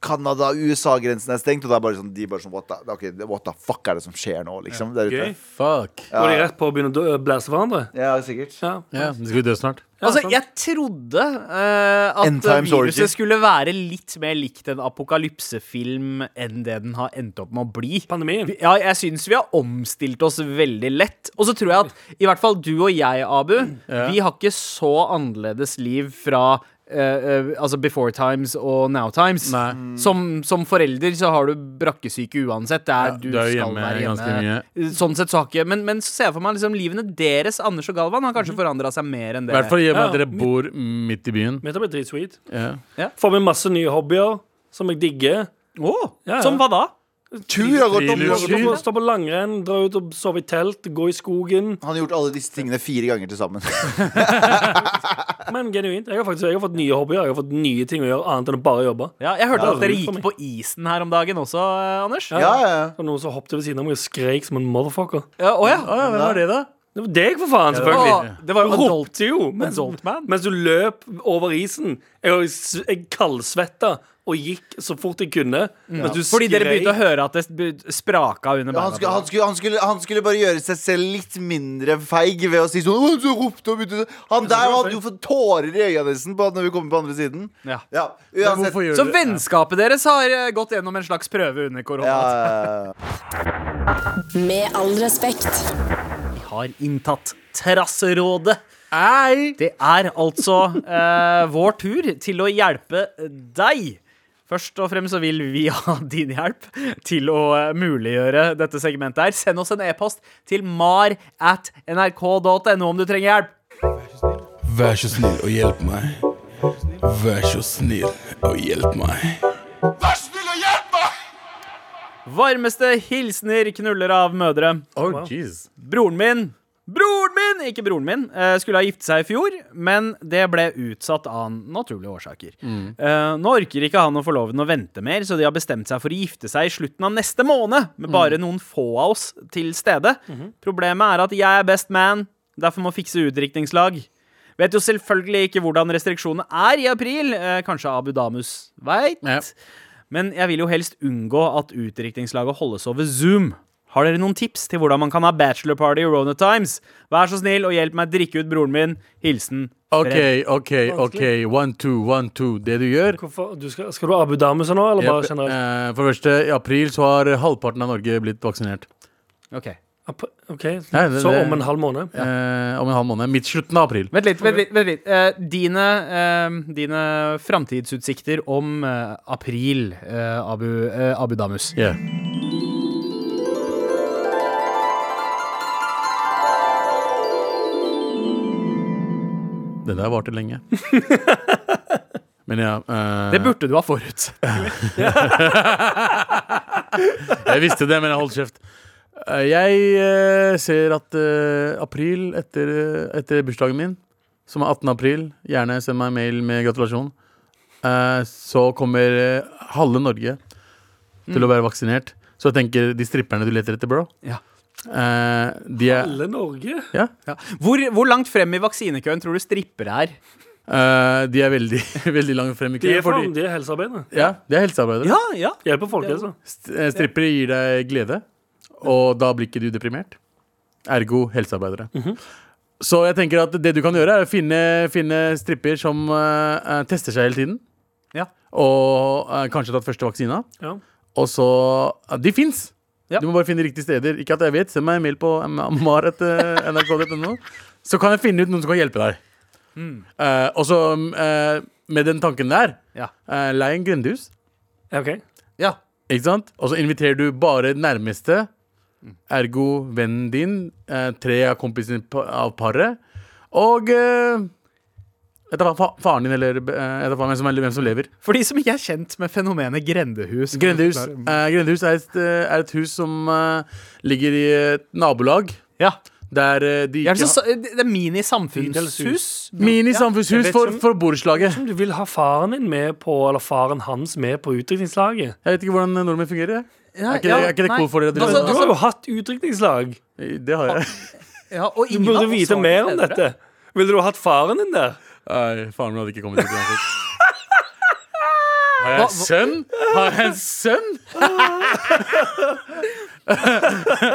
Speaker 4: Canada, USA-grensen er stengt, og det er bare sånn, de bare sånn what the, ok, what the fuck er det som skjer nå, liksom? Der ute.
Speaker 3: Gøy.
Speaker 5: Fuck.
Speaker 3: Går de rett på å begynne å dø- blæse hverandre?
Speaker 4: Ja, sikkert.
Speaker 3: Ja.
Speaker 5: Ja, men skal vi dø snart?
Speaker 2: Altså, jeg trodde eh,
Speaker 4: End
Speaker 2: at
Speaker 4: times
Speaker 2: viruset
Speaker 4: orgy.
Speaker 2: skulle være litt mer likt en apokalypsefilm enn det den har endt opp med å bli.
Speaker 3: Pandemien.
Speaker 2: Vi- Ja, jeg syns vi har omstilt oss veldig lett. Og så tror jeg at i hvert fall du og jeg, Abu, vi har ikke så annerledes liv fra eh, eh, altså Before Times og Now Times.
Speaker 5: Nei.
Speaker 2: Som, som forelder så har du brakkesyke uansett. Det er,
Speaker 5: Ja,
Speaker 2: du,
Speaker 5: du er jo
Speaker 2: skal
Speaker 5: hjemme
Speaker 2: være hjemme
Speaker 5: ganske mye.
Speaker 2: Sånn sett så har ikke Men, men så ser jeg for meg liksom livene deres, Anders og Galvan, har kanskje forandra seg mer enn
Speaker 5: Mhm. I
Speaker 2: det.
Speaker 5: hvert fall i og med
Speaker 3: Ja,
Speaker 5: at dere bor midt i byen.
Speaker 3: Mitt har blitt dritsweet.
Speaker 5: Ja.
Speaker 3: Får meg masse nye hobbyer som jeg digger.
Speaker 2: Åh,
Speaker 3: Ja, ja.
Speaker 2: Som hva da?
Speaker 4: Tur har gått opp!
Speaker 5: Frilufts-
Speaker 4: Han
Speaker 3: Stå på langrenn, dra ut og sove i telt, gå i skogen.
Speaker 4: har gjort alle disse tingene fire ganger til sammen.
Speaker 3: Men genuint. Jeg har faktisk jeg har fått nye hobbyer. Jeg har fått nye ting å gjøre annet enn å bare jobbe.
Speaker 2: Ja, jeg hørte
Speaker 3: Ja,
Speaker 2: at dere
Speaker 3: for
Speaker 2: gikk
Speaker 3: meg.
Speaker 2: på isen her om dagen også, eh, Anders.
Speaker 4: Ja, ja, ja.
Speaker 3: Og noen som hoppet ved siden av meg og skrek som en motherfucker.
Speaker 2: Ja, å ja.
Speaker 5: hvem var det, da?
Speaker 3: Det var deg, for faen, selvfølgelig.
Speaker 2: Å, det var jo
Speaker 3: Du
Speaker 2: adult,
Speaker 3: ropte jo mens,
Speaker 2: adult man.
Speaker 3: mens du løp over isen. Jeg, jeg kaldsvetta og gikk så fort jeg kunne. Mens du
Speaker 2: Fordi dere
Speaker 3: skrek.
Speaker 2: begynte å høre at det sp- spraka under
Speaker 4: Ja, han, skulle,
Speaker 2: beina.
Speaker 4: han, skulle, han, skulle, han skulle bare gjøre seg selv litt mindre feig ved å si sånn «Å, så ropte og begynte å-» Han der hadde jo fått tårer i øynene nesten på, når vi kommer på andre siden.
Speaker 2: Ja.
Speaker 4: Ja,
Speaker 5: Men
Speaker 4: uansett.
Speaker 5: Hvorfor gjør
Speaker 2: Så
Speaker 5: du det?
Speaker 2: vennskapet deres har eh, gått gjennom en slags prøve under korona.
Speaker 4: Ja, ja, ja.
Speaker 1: Med all respekt.
Speaker 2: Vi har inntatt Terrasserådet.
Speaker 5: Ei!
Speaker 2: Det er altså eh, vår tur til å hjelpe deg. Først og fremst så vil vi ha din hjelp til å eh, muliggjøre dette segmentet her. Send oss en e-post til mar at nrk.no om du trenger hjelp.
Speaker 7: Vær så snill og hjelp meg. Vær så snill og hjelp meg.
Speaker 2: Varmeste hilsener knuller av mødre.
Speaker 5: Oh, jeez.
Speaker 2: Broren min Broren min! Ikke broren min. eh, skulle ha giftet seg i fjor, men det ble utsatt av naturlige årsaker. Eh, nå orker ikke han og forloveden å vente mer, så de har bestemt seg for å gifte seg i slutten av neste måned, med bare noen få av oss til stede. Problemet er at jeg er best man, derfor må fikse utdrikningslag. Vet jo selvfølgelig ikke hvordan restriksjonene er i april. eh, kanskje Abu Damus veit.
Speaker 5: Ja.
Speaker 2: Men jeg vil jo helst unngå at utdrikningslaget holdes over Zoom. Har dere noen tips til hvordan man kan ha bachelorparty i Rona Times? Vær så snill og hjelp meg å drikke ut broren min. Hilsen
Speaker 5: OK,
Speaker 2: Fred.
Speaker 5: OK, OK. One, two, one, two. Det du gjør
Speaker 3: Hvorfor- du skal, skal du ha Abu Dhamus nå, eller bare
Speaker 5: Jep,
Speaker 3: generelt?
Speaker 5: eh, For det første, i april så har halvparten av Norge blitt vaksinert.
Speaker 2: Ok.
Speaker 3: Ap- Ah, OK,
Speaker 5: Nei, det-
Speaker 3: så
Speaker 5: det-
Speaker 3: om en halv måned.
Speaker 5: Eh, om en halv måned. Midt slutten av april.
Speaker 2: Vent litt. vent litt, vent litt. Eh, dine eh, dine framtidsutsikter om eh, april, eh, Abu, eh, Abu Damus.
Speaker 5: Yeah. Det der varte lenge. Men ja eh,
Speaker 2: Det burde du ha forut.
Speaker 5: Jeg visste det, men jeg holdt kjeft. Eh, Jeg eh, ser at eh, april, etter, eh, etter bursdagen min, som er 18. april Gjerne send meg en mail med gratulasjon. eh, så kommer eh, halve Norge
Speaker 3: Mm.
Speaker 5: til å være vaksinert. Så jeg tenker de stripperne du leter etter, bro
Speaker 2: Ja.
Speaker 5: eh, De er
Speaker 3: Alle Norge?
Speaker 5: ja,
Speaker 2: Hvor, hvor langt frem i vaksinekøen tror du strippere er?
Speaker 5: eh, De er veldig, veldig langt frem i
Speaker 3: De er,
Speaker 5: køen.
Speaker 3: faen,
Speaker 5: fordi-
Speaker 3: de er helsearbeidere.
Speaker 5: Ja, de er helsearbeidere.
Speaker 2: Ja, ja.
Speaker 3: Hjelper folkehelsa.
Speaker 5: St- eh, Strippere gir deg glede, og da blir ikke du deprimert. Ergo helsearbeidere. Så jeg tenker at det du kan gjøre, er å finne, finne stripper som eh, eh, tester seg hele tiden.
Speaker 2: Ja.
Speaker 5: Og eh, kanskje tatt første vaksina.
Speaker 3: Ja.
Speaker 5: Og så ja, De fins!
Speaker 2: Ja.
Speaker 5: Du må bare finne riktige steder. Ikke at jeg vet, Send meg en mail på eh, mar.nrk.no, så kan jeg finne ut noen som kan hjelpe deg. Eh, og så eh, med den tanken der,
Speaker 2: Ja.
Speaker 5: eh, lei en grendehus.
Speaker 3: Ok.
Speaker 2: Ja.
Speaker 5: Ikke sant? Og så inviterer du bare nærmeste, ergo vennen din, eh, tre av kompisene pa- av paret, og eh, vet du hva, fa faren din, eller eh, vet du hva, hvem, som, er- hvem som lever.
Speaker 2: For de som ikke er kjent med fenomenet grendehus.
Speaker 5: Grendehus, eh, Grendehus er, et, eh, er et hus som eh, ligger i et nabolag,
Speaker 2: Ja.
Speaker 5: der eh, de
Speaker 2: Det er,
Speaker 5: ikke
Speaker 2: så,
Speaker 5: har-
Speaker 2: sa- det er mini-samfunnshus.
Speaker 5: Mini-samfunnshus
Speaker 3: Jeg vet
Speaker 5: for,
Speaker 3: som-
Speaker 5: for borettslaget.
Speaker 3: Om du vil ha faren din med på, eller faren hans med på utdrikningslaget
Speaker 5: Jeg vet ikke hvordan nordmenn fungerer. jeg.
Speaker 2: Ja,
Speaker 5: Er ikke det, er ikke det
Speaker 2: nei.
Speaker 5: cool for dere?
Speaker 3: Du
Speaker 5: å drive-
Speaker 3: har jo hatt utdrikningslag.
Speaker 5: det har jeg.
Speaker 2: Altså, Ja, og
Speaker 3: Du
Speaker 2: ingen av
Speaker 3: burde
Speaker 2: oss
Speaker 3: vite
Speaker 2: var
Speaker 3: mer om
Speaker 2: til stede.
Speaker 3: dette. Ville du ha hatt faren din der?
Speaker 5: Nei, faren min hadde ikke kommet hit uansett. Har jeg en sønn? Har jeg en sønn?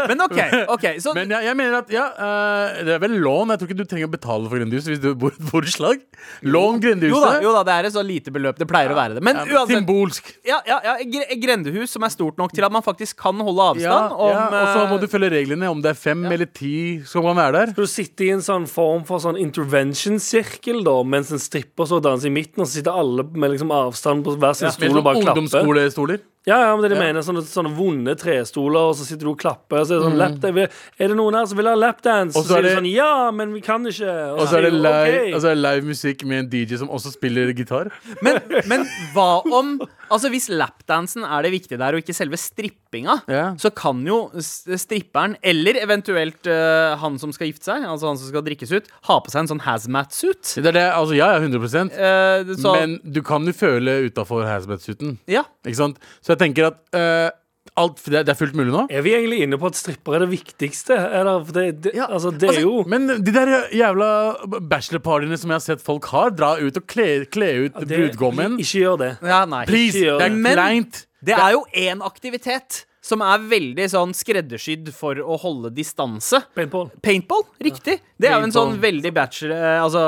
Speaker 2: Men OK. ok så,
Speaker 5: Men jeg, jeg mener at ja, eh, det er vel lån. Jeg tror ikke du trenger å betale for grendehus hvis du bor i et borettslag. Lån grendehuset.
Speaker 2: jo, da, jo da, det er et så lite beløp. Det pleier å være det. Men
Speaker 5: Ja,
Speaker 2: uansett.
Speaker 5: Symbolsk.
Speaker 2: Ja, ja, ja, gre- grendehus som er stort nok til at man faktisk kan holde avstand.
Speaker 5: Ja,
Speaker 2: om,
Speaker 5: ja, og så må
Speaker 2: eh,
Speaker 5: du følge reglene. Om det er fem eller ti, så kan man være der.
Speaker 3: Du sitter i en sånn form for sånn intervention-sirkel da Mens en stripper så danser i midten, og så sitter alle med liksom avstand på hver sin
Speaker 5: Med
Speaker 3: stol og bare klapper.
Speaker 5: ungdomsskolestoler.
Speaker 3: Ja, ja, men det er det jeg mener Sånne, sånne vonde trestoler, og så sitter du og klapper. Og så er, det sånn, lap, jeg vil, er det noen her som vil ha lapdance?
Speaker 5: Mm. Og
Speaker 3: Så,
Speaker 5: så er
Speaker 3: sier du
Speaker 5: det-
Speaker 3: sånn Ja, men vi kan ikke.
Speaker 5: Og så er det
Speaker 3: sier du,
Speaker 5: live, altså-
Speaker 3: «Ok».
Speaker 5: og så er det live musikk med en DJ som også spiller gitar.
Speaker 2: eh, Men, men hva om Altså Hvis lapdansen er det viktige der, og ikke selve strippinga,
Speaker 5: Ja.
Speaker 2: så kan jo s- stripperen, eller eventuelt eh, han som skal gifte seg, altså han som skal drikkes ut, ha på seg en sånn hazmat-suit.
Speaker 5: Det er det, altså Ja, ja, 100
Speaker 2: Eh, så,
Speaker 5: Men du kan jo føle utafor hazmat-suiten.
Speaker 2: ja.
Speaker 5: Ikke sant? Så jeg tenker at eh, alt, det, er- det er fullt mulig nå.
Speaker 3: Er vi egentlig inne på at stripper er det viktigste? Eller, for det, det, altså, det er jo
Speaker 5: Men de der jævla bachelorpartyene som jeg har sett folk har, dra ut og kle, kle ut
Speaker 3: det,
Speaker 5: brudgommen.
Speaker 3: Ikke gjør det.
Speaker 2: ja, nei.
Speaker 5: Please!
Speaker 3: ikke gjør
Speaker 5: Det er
Speaker 2: det.
Speaker 5: kleint.
Speaker 2: Det er jo én aktivitet som er veldig sånn skreddersydd for å holde distanse.
Speaker 3: Paint Paul.
Speaker 2: Paintball, riktig. Det er jo en sånn
Speaker 3: Paintball.
Speaker 2: veldig bachelor, eh, altså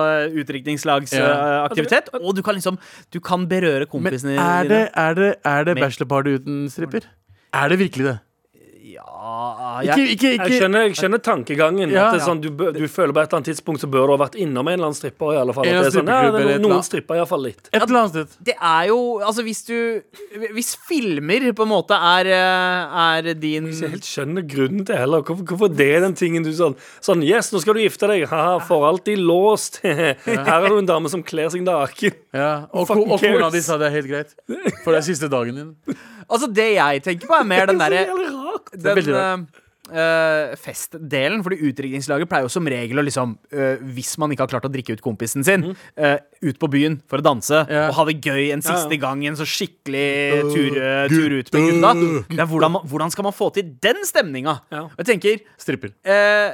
Speaker 5: Ja.
Speaker 2: utdrikningslagsaktivitet. Og du kan liksom Du kan berøre
Speaker 5: Men
Speaker 2: kompisene
Speaker 5: er det, er det, er det
Speaker 2: Med-
Speaker 5: bachelorparty uten stripper? Er det virkelig det?
Speaker 2: Ah, Ja, jeg,
Speaker 5: Ikke, ikke,
Speaker 3: Jeg
Speaker 5: ikke.
Speaker 3: skjønner, jeg skjønner tankegangen.
Speaker 5: Ja.
Speaker 3: at det er sånn, du, bø- du føler på et eller annet tidspunkt så bør du ha vært innom en eller annen stripper. i alle fall
Speaker 5: En
Speaker 3: at det er sånn,
Speaker 5: strippeklubb
Speaker 3: ja, det er no-
Speaker 5: eller et eller
Speaker 3: Noen
Speaker 5: annet.
Speaker 3: stripper iallfall litt.
Speaker 5: Et eller annet sted.
Speaker 2: det er jo Altså, hvis du Hvis filmer på en måte er, eh, er din
Speaker 3: Jeg helt skjønner grunnen til heller. Hvorfor, hvorfor det er den tingen du sånn Sånn, yes, nå skal du gifte deg. Haha, for alltid låst. Her er du en dame som kler seg naken.
Speaker 5: Ja. Og, ko-
Speaker 3: Fucking
Speaker 5: og kona
Speaker 3: cares.
Speaker 5: di sa det er helt greit. For det er siste dagen din.
Speaker 2: Altså, det jeg tenker på, er mer den
Speaker 3: Det
Speaker 2: derre
Speaker 3: er jævlig rart.
Speaker 5: er
Speaker 2: den
Speaker 5: veldig
Speaker 2: eh, eh, festdelen, fordi utdrikningslaget pleier jo som regel å liksom eh, Hvis man ikke har klart å drikke ut kompisen sin, eh, ut på byen for å danse
Speaker 5: Mm. Ja.
Speaker 2: og ha det gøy en siste gang i en så skikkelig tur, eh, tur ut med gutta.
Speaker 5: eh.
Speaker 2: Det er hvordan, man, hvordan skal man få til den stemninga?
Speaker 3: Ja.
Speaker 2: Jeg tenker
Speaker 5: Stripper.
Speaker 2: eh,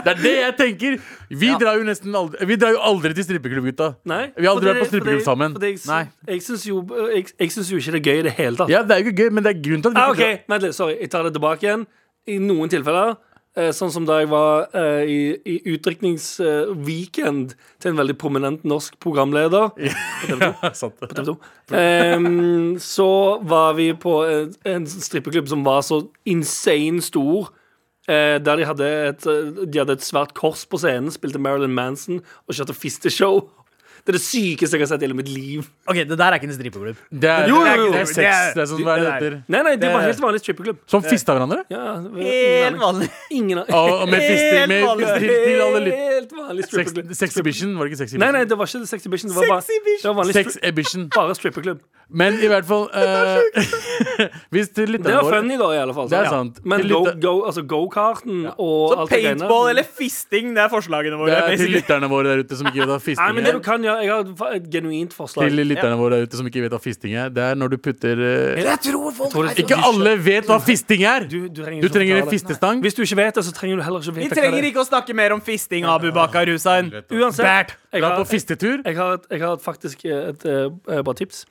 Speaker 5: Det er det jeg tenker! Vi
Speaker 2: Ja.
Speaker 5: drar jo nesten aldri, vi drar jo aldri til strippeklubb, gutta.
Speaker 3: Nei,
Speaker 5: Vi har aldri
Speaker 3: fordi-
Speaker 5: vært på strippeklubb
Speaker 3: fordi-
Speaker 5: sammen.
Speaker 3: fordi Jeg,
Speaker 2: Nei.
Speaker 3: jeg syns jo, jeg, jeg syns jo ikke det er gøy i det hele tatt.
Speaker 5: Ja, det er jo ikke gøy, men det er grunnen til at vi
Speaker 3: Ah,
Speaker 5: ikke drar-
Speaker 3: ok, vent litt, sorry, jeg tar det tilbake igjen I noen tilfeller eh, Sånn som da jeg var eh, i, i utdrikningsweekend Til en veldig prominent norsk programleder
Speaker 5: Ja, sant det.
Speaker 3: TV 2. Ehm, så var vi på en, en strippeklubb som var så insane stor. eh, der de hadde, et, eh, de hadde et svært kors på scenen, spilte Marilyn Manson og kjørte fisteshow. Det er det sykeste jeg har sett i hele mitt liv.
Speaker 2: OK, det der er ikke en strippeklubb.
Speaker 5: Det er,
Speaker 3: Jo, jo,
Speaker 5: det er,
Speaker 3: jo,
Speaker 5: det er
Speaker 3: det
Speaker 5: sex.
Speaker 2: er-
Speaker 5: Det er sånn, hva er det
Speaker 2: det er-
Speaker 5: heter?
Speaker 3: Nei, nei, det var
Speaker 2: Det-
Speaker 3: helt vanlig strippeklubb.
Speaker 5: Som fista hverandre?
Speaker 3: Ja, det var ingen
Speaker 2: Helt
Speaker 3: aning.
Speaker 2: vanlig.
Speaker 3: Ingen aning.
Speaker 5: Og med fister med til, til alle lytt.
Speaker 3: Helt vanlig
Speaker 5: Sex,
Speaker 3: strippeklubb.
Speaker 5: sexhibition, var det ikke
Speaker 3: Nei,
Speaker 5: sexhibition?
Speaker 3: nei, det var ikke sexhibition. Det var bare, det var vanlig stri
Speaker 5: Sexhibition.
Speaker 3: bare strippeklubb.
Speaker 5: Men i hvert fall eh, Hvis til
Speaker 3: Det var
Speaker 5: lytterne våre
Speaker 3: funny, da, i alle fall.
Speaker 5: Det er
Speaker 3: Ja.
Speaker 5: sant.
Speaker 3: Men
Speaker 5: Til
Speaker 3: go-
Speaker 5: lytter-
Speaker 3: go- altså go-karten og
Speaker 2: Så
Speaker 3: alt det greiene.
Speaker 2: paintball eller fisting, det er forslagene
Speaker 5: det
Speaker 2: våre.
Speaker 5: er til
Speaker 2: basically.
Speaker 5: lytterne våre der ute som ikke vet hva
Speaker 3: Nei, men
Speaker 5: fisting
Speaker 3: det du
Speaker 5: er.
Speaker 3: kan gjøre Jeg har et fa- et genuint forslag.
Speaker 5: Til lytterne våre der ute som ikke vet hva fisting er. Det er når du putter eh,
Speaker 2: Jeg tror folk
Speaker 3: Tror du-
Speaker 5: Ikke alle vet hva fisting er!
Speaker 3: Du, du trenger,
Speaker 5: Du
Speaker 3: ikke
Speaker 5: trenger
Speaker 3: å
Speaker 5: en
Speaker 3: forklare det.
Speaker 5: fistestang.
Speaker 3: Hvis du ikke vet det, så trenger du heller ikke
Speaker 2: Vi
Speaker 3: vite
Speaker 2: trenger
Speaker 3: hva det er.
Speaker 2: ikke å snakke mer om fisting, Abu Bakar Hussein.
Speaker 3: Uansett, jeg
Speaker 5: Dra
Speaker 3: har,
Speaker 5: på fistetur.
Speaker 3: jeg har, et, jeg har et faktisk eh, et, eh, bra tips.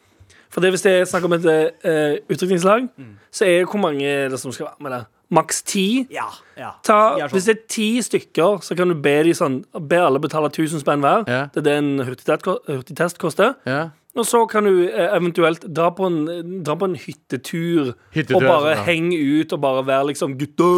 Speaker 3: For det er hvis det er snakk om et uh, utdrikningslag,
Speaker 2: Mm.
Speaker 3: så er hvor mange er det som skal være med der? Maks ti?
Speaker 2: Ja, ja.
Speaker 3: Ta,
Speaker 2: De er sånn.
Speaker 3: Hvis det er ti stykker, så kan du be, de sånn, be alle betale 1000 spenn hver.
Speaker 5: Ja.
Speaker 3: Det er det en hurtigtest, ko- hurtigtest koster.
Speaker 5: Ja.
Speaker 3: Og Og så kan du eh, eventuelt dra på en, dra på en hyttetur,
Speaker 5: Hyttetur,
Speaker 3: og
Speaker 5: altså,
Speaker 3: bare
Speaker 5: ja.
Speaker 3: henge ut og bare være liksom gutta.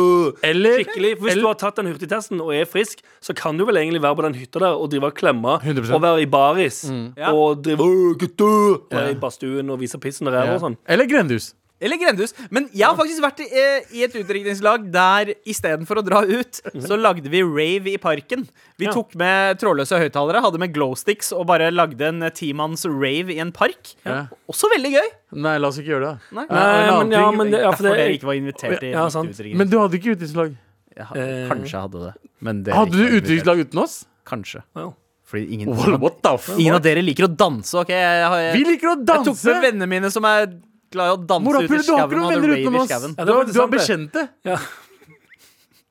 Speaker 5: Eller-
Speaker 3: Skikkelig. For hvis
Speaker 5: eller-
Speaker 3: du har tatt den hurtigtesten og er frisk, så kan du vel egentlig være på den hytta der og drive og klemme
Speaker 5: 100%.
Speaker 3: og være i baris
Speaker 2: Ja.
Speaker 3: og drive «Åh, gutta og
Speaker 5: Mm. Ja.
Speaker 3: være i badstuen og vise pissen og ræva og sånn.
Speaker 5: Eller grendehus.
Speaker 2: Eller grendehus. Men jeg har faktisk vært i, eh, i et utdrikningslag der istedenfor å dra ut,
Speaker 5: Mhm.
Speaker 2: så lagde vi rave i parken. Vi tok med trådløse høyttalere, hadde med glowsticks og bare lagde en eh, timanns rave i en park.
Speaker 5: Ja.
Speaker 2: Også veldig gøy.
Speaker 5: Nei, la oss ikke gjøre det.
Speaker 2: Nei.
Speaker 5: Eh, en
Speaker 3: Nei,
Speaker 5: annen
Speaker 3: men ja,
Speaker 5: ting-
Speaker 3: men det, ja, for
Speaker 2: Derfor
Speaker 3: det
Speaker 2: dere ikke var invitert i
Speaker 3: Ja,
Speaker 2: mitt
Speaker 3: sant.
Speaker 2: utdrikning.
Speaker 5: Men du hadde ikke utenrikslag.
Speaker 2: Jeg ha- Kanskje jeg hadde det. Men dere
Speaker 5: Hadde
Speaker 2: ikke
Speaker 5: du
Speaker 2: var invitert.
Speaker 5: utenrikslag uten oss?
Speaker 2: Kanskje.
Speaker 3: Wow.
Speaker 2: Fordi ingen,
Speaker 5: Well, what the fuck?
Speaker 2: ingen av dere liker å danse. Ok, jeg, har-
Speaker 5: Vi liker å
Speaker 2: jeg tok med
Speaker 5: danse!
Speaker 2: vennene mine som er glad i å danse ute i
Speaker 5: Morapule, du har ikke
Speaker 2: skauen. og
Speaker 5: noen
Speaker 2: hadde
Speaker 5: venner
Speaker 2: rave
Speaker 5: utenom
Speaker 2: i
Speaker 5: oss.
Speaker 2: skauen.
Speaker 5: Du har, du har
Speaker 3: interessant,
Speaker 5: bekjente.
Speaker 3: Ja.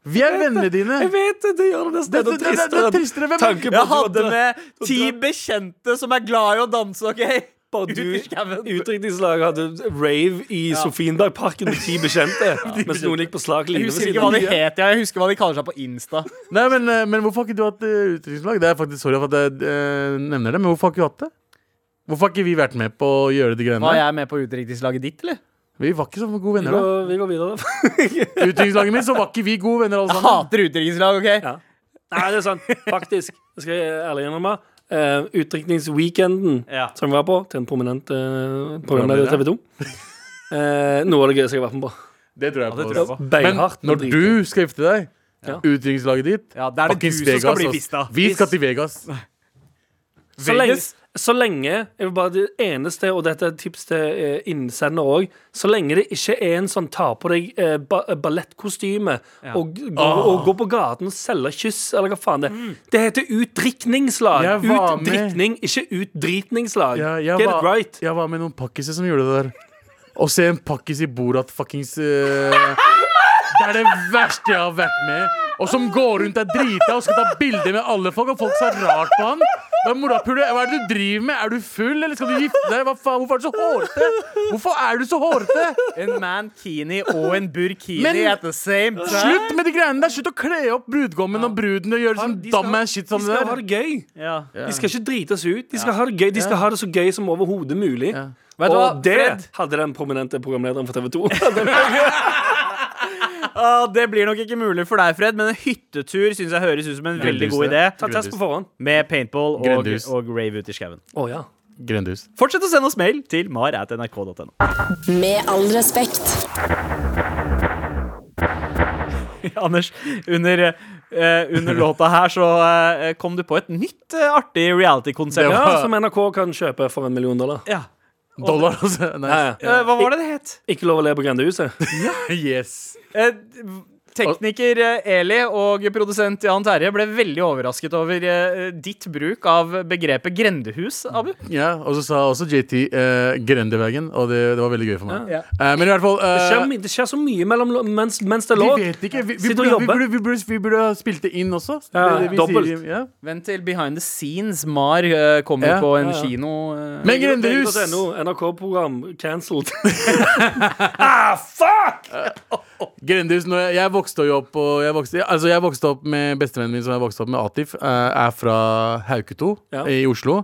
Speaker 5: Vi er vennene dine.
Speaker 3: Jeg vet det! Det gjør det nesten
Speaker 5: Det,
Speaker 3: enda
Speaker 5: det, det, det, det er
Speaker 3: tristere.
Speaker 5: tristere. Hvem
Speaker 3: Tanken på
Speaker 2: Jeg
Speaker 3: at du
Speaker 2: hadde
Speaker 3: hadde-
Speaker 2: med ti bekjente som er glad i å danse, OK?
Speaker 3: Bare
Speaker 2: Ut
Speaker 3: du
Speaker 2: i skauen.
Speaker 3: Utdrikningslaget hadde rave i Sofienbergparken med ti bekjente. mens noen gikk på slak
Speaker 2: Jeg
Speaker 3: linje ved
Speaker 2: husker
Speaker 3: siden
Speaker 2: ikke hva
Speaker 3: av.
Speaker 2: de het, jeg husker hva de kaller seg på Insta.
Speaker 5: Nei, men, eh, men hvorfor har ikke du hatt eh, utenrikslag? Det er faktisk sorry for at jeg eh, nevner det, men hvorfor har ikke du hatt det? Hvorfor har ikke vi vært med på å gjøre de greiene?
Speaker 2: Var
Speaker 5: der?
Speaker 2: jeg med på utdrikningslaget ditt, eller?
Speaker 5: Vi var ikke så gode
Speaker 3: Vi
Speaker 5: venner da.
Speaker 3: går, vi går videre.
Speaker 5: Utenrikslaget mitt, så var ikke vi gode venner alle
Speaker 2: Jeg
Speaker 5: sammen.
Speaker 2: hater utdrikningslag, OK?
Speaker 3: Ja. Nei, det er sant. Faktisk. Det skal jeg ærlig innrømme. Uh, Utdrikningsweekenden
Speaker 2: Ja.
Speaker 3: som vi var på, til en prominent uh, programleder i TV 2. Eh, noe av det gøyeste jeg har vært med på.
Speaker 5: Det tror jeg
Speaker 2: det
Speaker 5: på.
Speaker 2: tror jeg
Speaker 5: ass.
Speaker 2: på.
Speaker 5: Men
Speaker 3: Beinhardt.
Speaker 5: når
Speaker 3: men
Speaker 5: du skal gifte deg,
Speaker 3: Ja.
Speaker 5: utenrikslaget ditt
Speaker 2: Ja, det er det du
Speaker 5: fuckings
Speaker 2: som skal bli
Speaker 5: ass.
Speaker 2: fista.
Speaker 5: Vi skal til Vegas.
Speaker 3: Så lenge,
Speaker 2: Vegas.
Speaker 3: så lenge jeg vil bare Det eneste, og dette er et tips til eh, innsender òg Så lenge det ikke er en sånn ta på deg eh, ba ballettkostyme og, g- gå, og gå på gaten og selge kyss, eller hva faen det er.
Speaker 2: Mm.
Speaker 3: Det heter utdrikningslag.
Speaker 5: Jeg var med-
Speaker 3: Utdrikning, ikke utdritningslag.
Speaker 5: Ja, jeg,
Speaker 3: Get
Speaker 5: var,
Speaker 3: it right.
Speaker 5: jeg var med noen pakkiser som gjorde det der. Å se en pakkis i Borat fuckings eh, Det er det verste jeg har vært med. Og som går rundt er drita og skal ta bilder med alle folk, og folk ser rart på han. Hva, er morapule, hva er det du driver med? Er du full, eller skal du gifte deg? Hva faen, hvorfor er du så hårete? Hvorfor er du så hårete?
Speaker 2: En mankini og en burkini
Speaker 5: Men-
Speaker 2: at the same time.
Speaker 5: Slutt med de greiene der! Slutt å kle opp brudgommen og bruden og gjøre sånn
Speaker 3: De skal-
Speaker 5: dumbass shit som
Speaker 3: de
Speaker 5: det
Speaker 3: skal ha
Speaker 5: der.
Speaker 3: det gøy.
Speaker 2: Ja.
Speaker 3: De skal ikke drites ut. De skal, ha det gøy. De skal ha det så gøy som overhodet mulig.
Speaker 2: Vet du
Speaker 3: Og
Speaker 2: hva,
Speaker 3: det
Speaker 2: Fred?
Speaker 3: hadde den prominente programlederen for TV 2.
Speaker 2: Ah, det blir nok ikke mulig for deg, Fred, men en hyttetur syns jeg høres ut som en veldig god idé.
Speaker 5: Grindhuset.
Speaker 3: Ta test på forhånd.
Speaker 2: Med paintball og,
Speaker 5: Grindhus.
Speaker 2: og rave ute i skauen.
Speaker 3: Å ja.
Speaker 5: Grendehus.
Speaker 2: Fortsett å sende oss mail til mar.nrk.no.
Speaker 1: Med all respekt.
Speaker 2: Anders, under, eh, under låta her så eh, kom du på et nytt eh, artig reality-konsept. altså,
Speaker 5: Det
Speaker 3: ja,
Speaker 5: var-
Speaker 3: som NRK kan kjøpe for en million dollar.
Speaker 2: Ja.
Speaker 5: Dollar, altså. Nei.
Speaker 3: Ja, ja.
Speaker 2: Eh, hva var det det het?
Speaker 3: Ikke lov å le på Grendehuset.
Speaker 5: Yes.
Speaker 2: Eh, tekniker eh, Eli og produsent Jan Terje ble veldig overrasket over eh, ditt bruk av begrepet grendehus, Abu.
Speaker 5: Ja, og så sa også JT eh, Grendeveien, og det, det var veldig gøy for meg.
Speaker 2: Ja.
Speaker 5: Eh, men i hvert fall
Speaker 3: Det
Speaker 5: eh,
Speaker 3: skjer, my- det skjer så mye mellom, lå- mens, mens det er
Speaker 5: Vi
Speaker 3: lov.
Speaker 5: vet ikke. Vi, vi,
Speaker 3: Sitt og
Speaker 5: burde, vi,
Speaker 3: jobbe.
Speaker 5: burde, vi, burde, vi burde ha spilt det inn også.
Speaker 3: Ja,
Speaker 5: Det- det vi
Speaker 3: dobbelt.
Speaker 5: sier- ja.
Speaker 2: Vent til Behind the Scenes. Mar eh, kommer
Speaker 5: Ja,
Speaker 2: på en
Speaker 3: ja, ja.
Speaker 2: kino. eh.
Speaker 5: Men Grendehus
Speaker 3: .no, NRK-program cancelled.
Speaker 5: Grendehus, når jeg, jeg vokste jo opp og jeg vokste, altså jeg vokste opp med bestevennen min som jeg vokste opp med, Atif, eh, er fra Hauketo
Speaker 3: Ja.
Speaker 5: i Oslo.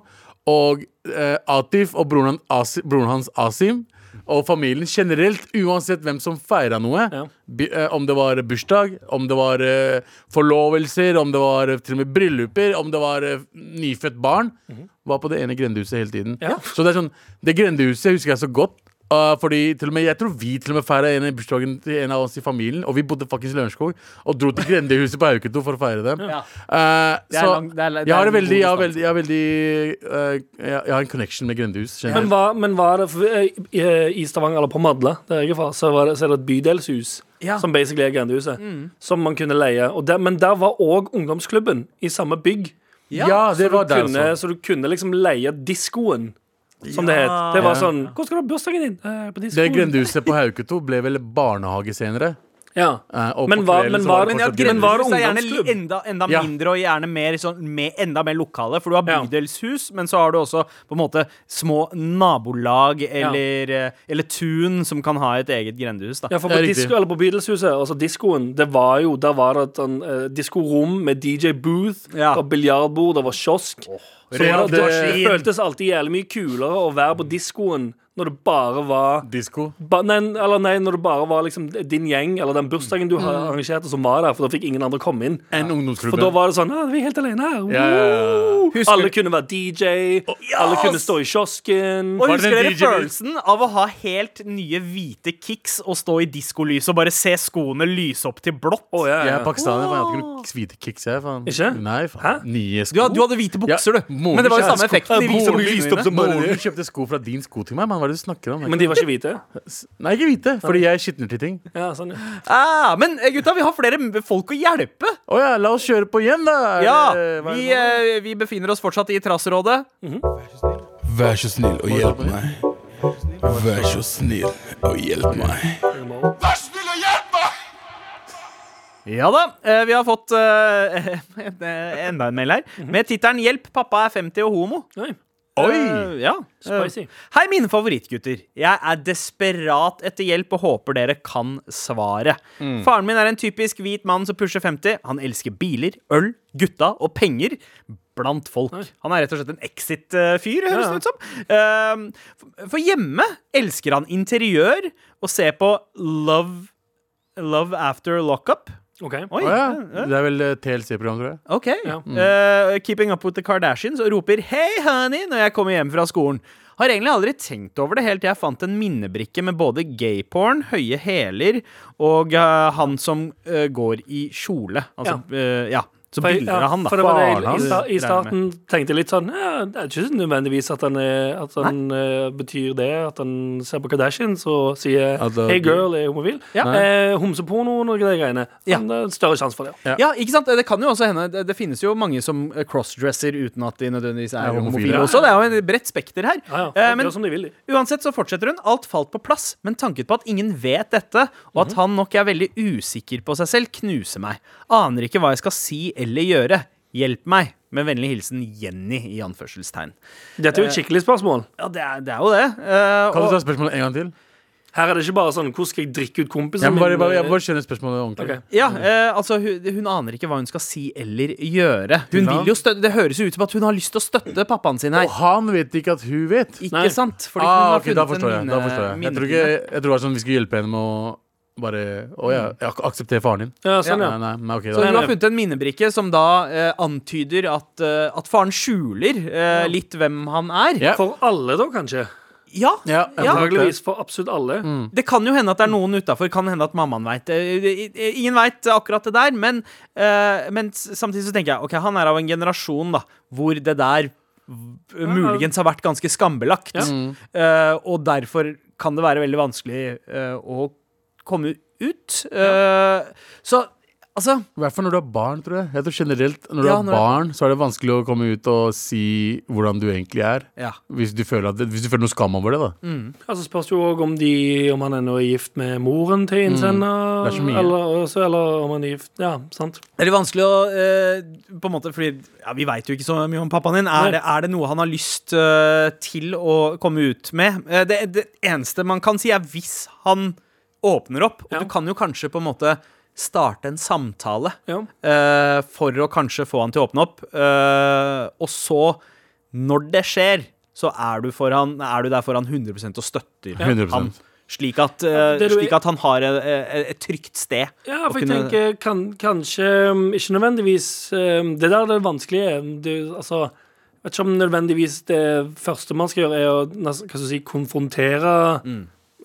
Speaker 5: Og eh, Atif og broren, han- Asi, broren hans Asim og familien generelt, uansett hvem som feira noe,
Speaker 3: Ja.
Speaker 5: bi- eh, om det var bursdag, om det var eh, forlovelser, om det var eh, til og med brylluper, om det var eh, nyfødt barn, var på det ene grendehuset hele tiden.
Speaker 3: Mhm. Ja.
Speaker 5: Så det er sånn, det grendehuset husker jeg så godt. Uh, fordi til og med, Jeg tror vi til og med feira en i bursdagen til en av oss i familien. Og vi bodde faktisk i Lørenskog og dro til grendehuset på Hauketo for å feire dem.
Speaker 2: Ja.
Speaker 5: Uh,
Speaker 2: Det er
Speaker 5: så
Speaker 2: lang- det er- det er
Speaker 5: jeg har
Speaker 2: en
Speaker 5: en veldig,
Speaker 2: god
Speaker 5: jeg har veldig, jeg har veldig uh, jeg, jeg har en connection med grendehus. generelt.
Speaker 3: Men hva, men hva er det for, eh, i, eh, I Stavanger, eller på Madla, der jeg er fra, så, var det, så er det et bydelshus
Speaker 2: Ja.
Speaker 3: som basically er Grendehuset.
Speaker 5: Mm.
Speaker 3: Som man kunne leie. Og der, men der var òg ungdomsklubben i samme bygg.
Speaker 5: ja,
Speaker 3: Så du,
Speaker 5: det var der
Speaker 3: kunne, så
Speaker 5: også.
Speaker 3: du kunne liksom leie diskoen, som det het. Det
Speaker 5: Ja.
Speaker 3: var sånn Hvor skal du ha bursdagen din? Eh, på
Speaker 5: Det
Speaker 3: diskoen.
Speaker 5: grendehuset på Hauketo ble vel barnehage senere.
Speaker 3: Ja.
Speaker 5: Eh, og på
Speaker 3: Men hva-
Speaker 5: kvelden
Speaker 3: men
Speaker 5: så
Speaker 3: hva-
Speaker 5: det
Speaker 2: Men
Speaker 3: Men
Speaker 2: ja,
Speaker 5: fortsatt
Speaker 3: at grendehus-
Speaker 5: grendehuset.
Speaker 2: Grendehuset er gjerne
Speaker 3: ungdomsklubb.
Speaker 2: litt enda, enda
Speaker 5: Ja.
Speaker 2: mindre og gjerne mer, sånn, med, enda mer lokale. For du har
Speaker 3: Ja.
Speaker 2: bydelshus, men så har du også på en måte små nabolag eller, eh, eller tun som kan ha et eget grendehus. Da.
Speaker 3: Ja, for
Speaker 5: Ja,
Speaker 3: på,
Speaker 5: riktig.
Speaker 3: disco, eller på Beatles-huset, altså diskoen, det var jo Der var det et sånn, eh, diskorom med DJ-booth
Speaker 2: Ja.
Speaker 3: og biljardbord, det var kiosk. Så det,
Speaker 5: Real
Speaker 3: det, det
Speaker 5: Madrid.
Speaker 3: føltes alltid jævlig mye kulere å være på diskoen når det bare var
Speaker 5: Disko.
Speaker 3: ba, nei, eller nei, når det bare var liksom din gjeng eller den bursdagen du
Speaker 2: Mm.
Speaker 3: har arrangerte, som var der, for da fikk ingen andre komme inn.
Speaker 5: En
Speaker 3: For da
Speaker 5: ungdomsklubbe.
Speaker 3: var det sånn ah, Vi er helt alene her.
Speaker 5: Ja, ja, ja.
Speaker 3: Woo! Alle kunne være DJ. Alle kunne stå i kiosken.
Speaker 2: Og
Speaker 5: Var det
Speaker 2: husker
Speaker 5: den
Speaker 2: dere
Speaker 5: DJ
Speaker 2: følelsen av å ha helt nye hvite kicks og stå i diskolyset og bare se skoene lyse opp til blått?
Speaker 3: Å, ja,
Speaker 5: Jeg
Speaker 3: ja.
Speaker 5: er pakistaner, faen. Jeg hadde ikke noen hvite kicks her, faen.
Speaker 3: Ikke?
Speaker 5: Nei,
Speaker 3: Hæ?
Speaker 5: faen. Nye sko.
Speaker 2: Du, had- du hadde hvite bukser,
Speaker 5: Ja,
Speaker 2: du.
Speaker 5: moren
Speaker 2: Men det var jo
Speaker 5: kjøpte
Speaker 2: samme
Speaker 5: sko.
Speaker 2: effekten.
Speaker 5: Ja,
Speaker 2: De viser opp
Speaker 5: moren
Speaker 2: lysene
Speaker 5: lyste opp
Speaker 2: dine.
Speaker 5: som bare det. Moren kjøpte sko fra din sko til meg. Men hva er det du snakker om?
Speaker 3: Men de var ikke hvite?
Speaker 5: Nei, ikke hvite, fordi jeg skitner til ting.
Speaker 3: Ja, sånn, ja.
Speaker 2: Ah, men eh, gutta, vi har flere m- folk å hjelpe.
Speaker 5: Å ja, la oss kjøre på igjen, da. Er
Speaker 2: Ja,
Speaker 5: det- hva er
Speaker 2: Vi,
Speaker 5: det nå?
Speaker 2: eh, vi befinner oss fortsatt i Traserådet.
Speaker 7: Vær så snill og hjelp meg. Vær så snill og hjelp meg.
Speaker 2: Ja da. eh, Vi har fått eh, eh, enda en mail her. Med tittelen 'Hjelp, pappa er 50 og homo'.
Speaker 3: Nei.
Speaker 2: Eh, ja.
Speaker 3: Spicy.
Speaker 2: Eh, Hei, mine favorittgutter. Jeg er desperat etter hjelp og håper dere kan svaret.
Speaker 5: Mm.
Speaker 2: Faren min er en typisk hvit mann som pusher 50. Han elsker biler, øl, gutta og penger. Blant folk. Han er rett og slett en exit-fyr, høres det ut som. Eh, for- For hjemme elsker han interiør og ser på Love, Love After Lockup.
Speaker 3: OK.
Speaker 2: Oi,
Speaker 5: Å ja. Det er vel eh, TLC-program, tror jeg.
Speaker 2: Ok.
Speaker 3: Ja.
Speaker 2: Eh, keeping up with the Kardashians og roper 'Hey, honey' når jeg kommer hjem fra skolen. Har egentlig aldri tenkt over det helt til jeg fant en minnebrikke med både gayporn, høye hæler og eh, han som eh, går i kjole. Altså, eh, ja. Så
Speaker 3: For, jeg-
Speaker 2: bilder av han, da.
Speaker 3: for det var det,
Speaker 2: Faren
Speaker 3: jeg- i,
Speaker 2: hans,
Speaker 3: sta, I
Speaker 2: regner jeg med.
Speaker 3: starten tenkte jeg litt sånn ja, Det er ikke nødvendigvis at han, er, at han eh, betyr det, at han ser på Kardashian og sier
Speaker 5: At det-
Speaker 3: 'Hey girl, er homofil'.
Speaker 2: Ja.
Speaker 3: Eh, Homseporno og noe av de greiene.
Speaker 2: Ja.
Speaker 3: Men det er større sjanse for det.
Speaker 5: Ja.
Speaker 2: Ja, ikke sant? Det kan jo også hende Det, det finnes jo mange som eh, crossdresser uten at de nødvendigvis er,
Speaker 5: Er homofile.
Speaker 2: homofile også. Det er jo en bredt spekter her.
Speaker 3: Ja, ja.
Speaker 2: Eh,
Speaker 3: gjør som de vil, de.
Speaker 2: Uansett så fortsetter hun. Alt falt på plass, men tanken på at ingen vet dette, og at
Speaker 5: Mhm.
Speaker 2: han nok er veldig usikker på seg selv, knuser meg. Aner ikke hva jeg skal si eller gjøre. Hjelp meg. Med vennlig hilsen Jenny i anførselstegn.
Speaker 3: Dette er
Speaker 2: Eh.
Speaker 3: jo et skikkelig spørsmål.
Speaker 2: Ja, det er, det er jo det. Eh,
Speaker 5: Kan du ta
Speaker 2: og,
Speaker 5: spørsmålet en gang til?
Speaker 3: Her er det ikke bare sånn 'Hvordan skal jeg drikke ut kompisen
Speaker 5: Jeg må bare,
Speaker 3: min?'
Speaker 5: bare, jeg må bare skjønner spørsmålet ordentlig.
Speaker 3: Ok.
Speaker 2: ja, eh, altså hun, hun aner ikke hva hun skal si eller gjøre. Hun vil jo støtte, Det høres jo ut som at hun har lyst til å støtte pappaen sin her.
Speaker 5: Og han vet ikke at hun vet.
Speaker 2: Ikke
Speaker 3: Nei.
Speaker 2: sant? Fordi hun
Speaker 5: Ah,
Speaker 2: har
Speaker 5: ok, da
Speaker 2: funnet
Speaker 5: forstår jeg.
Speaker 2: en
Speaker 5: Da forstår jeg.
Speaker 2: minne-
Speaker 5: Jeg tror, ikke, jeg tror det var sånn vi skulle hjelpe henne med å bare Å ja,
Speaker 2: Mm.
Speaker 5: ak akseptere faren din.
Speaker 3: Ja, sånn, ja.
Speaker 5: Nei, nei, nei, ok,
Speaker 2: Så
Speaker 5: da.
Speaker 2: hun
Speaker 3: nei.
Speaker 2: har funnet en minnebrikke som da eh, antyder at, eh, at faren skjuler eh, litt hvem han er.
Speaker 5: Ja.
Speaker 3: For alle, da, kanskje?
Speaker 2: Ja.
Speaker 5: Ja,
Speaker 2: Ja. Mm.
Speaker 3: Antakeligvis for absolutt alle.
Speaker 2: Det kan jo hende at det er noen utafor. Kan hende at mammaen Eh, veit. Ingen veit akkurat det der, men, eh, men s- samtidig så tenker jeg ok, han er av en generasjon da hvor det der v- muligens har vært ganske skambelagt. Eh, og derfor kan det være veldig vanskelig eh, å komme ut. Eh, Så altså
Speaker 5: I hvert fall når du har barn, tror jeg. Jeg tror generelt Når du
Speaker 2: Ja,
Speaker 5: har
Speaker 2: når-
Speaker 5: barn, så er det vanskelig å komme ut og si hvordan du egentlig er.
Speaker 2: Ja.
Speaker 5: Hvis du føler, at, hvis du føler noe skam over det, da.
Speaker 3: Altså spørs jo òg om, de- om han ennå er gift med moren
Speaker 2: Mm.
Speaker 3: til innsender.
Speaker 5: Det er så mye.
Speaker 3: Eller, også, eller om han er gift Ja, sant.
Speaker 2: Det er litt vanskelig å eh, På en måte, fordi ja, Vi veit jo ikke så mye om pappaen din.
Speaker 3: Nei.
Speaker 2: Er det, er det noe han har lyst eh, til å komme ut med? Eh, det, det eneste man kan si, er hvis han åpner opp. Og
Speaker 3: Ja.
Speaker 2: du kan jo kanskje på en måte starte en samtale
Speaker 3: Ja.
Speaker 2: eh, for å kanskje få han til å åpne opp. Eh, og så, når det skjer, så er du, for han, er du der for han 100 og støtter
Speaker 5: 100%.
Speaker 2: han. Slik at, eh,
Speaker 3: Det du-
Speaker 2: slik at han har et, et trygt sted.
Speaker 3: Ja,
Speaker 2: å
Speaker 3: for jeg
Speaker 2: kunne-
Speaker 3: tenker kan, kanskje um, Ikke nødvendigvis um, Det der er det vanskelige. Du, altså, jeg vet ikke om nødvendigvis det første man skal gjøre, er å nesten- hva skal jeg si, konfrontere
Speaker 2: Mm.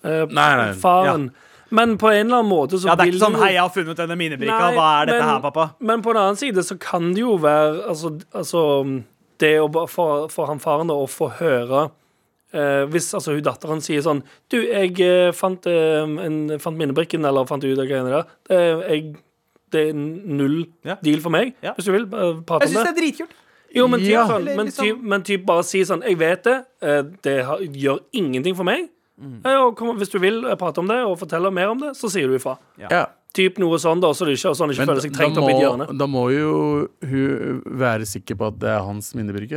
Speaker 3: eh,
Speaker 5: nei,
Speaker 3: faren. Men på en eller annen måte så
Speaker 2: Ja, det er
Speaker 3: vil
Speaker 2: ikke sånn
Speaker 3: jo-
Speaker 2: 'hei, jeg har funnet denne minebrikka,
Speaker 3: Nei,
Speaker 2: hva er dette
Speaker 3: men-
Speaker 2: her, pappa'?
Speaker 3: Men på den annen side så kan det jo være Altså, altså det å bare for, for han faren da, å få høre eh, Hvis altså hun datteren sier sånn Du, jeg eh, fant, eh, en, fant minnebrikken, eller fant ut av greiene der. Eh, jeg, det er null
Speaker 2: Ja.
Speaker 3: deal for meg,
Speaker 2: Ja.
Speaker 3: hvis du vil. eh, Prate
Speaker 2: Jeg
Speaker 3: om det.
Speaker 2: syns det er dritkult.
Speaker 3: Jo, men typ,
Speaker 5: Ja.
Speaker 3: sånn,
Speaker 2: Eller
Speaker 3: men,
Speaker 2: liksom-
Speaker 3: typ, men typ bare si sånn Jeg vet det, eh, det har, gjør ingenting for meg.
Speaker 2: Mm.
Speaker 3: Eh, Og kom, hvis du vil eh, prate om det og fortelle mer om det, så sier du ifra.
Speaker 5: Ja.
Speaker 3: Typ noe sånn, da, så du ikke, så han ikke
Speaker 5: Men
Speaker 3: føler seg
Speaker 5: da
Speaker 3: trengt opp i et hjørne.
Speaker 5: må, da må jo hun være sikker på at det er hans minnebrikke.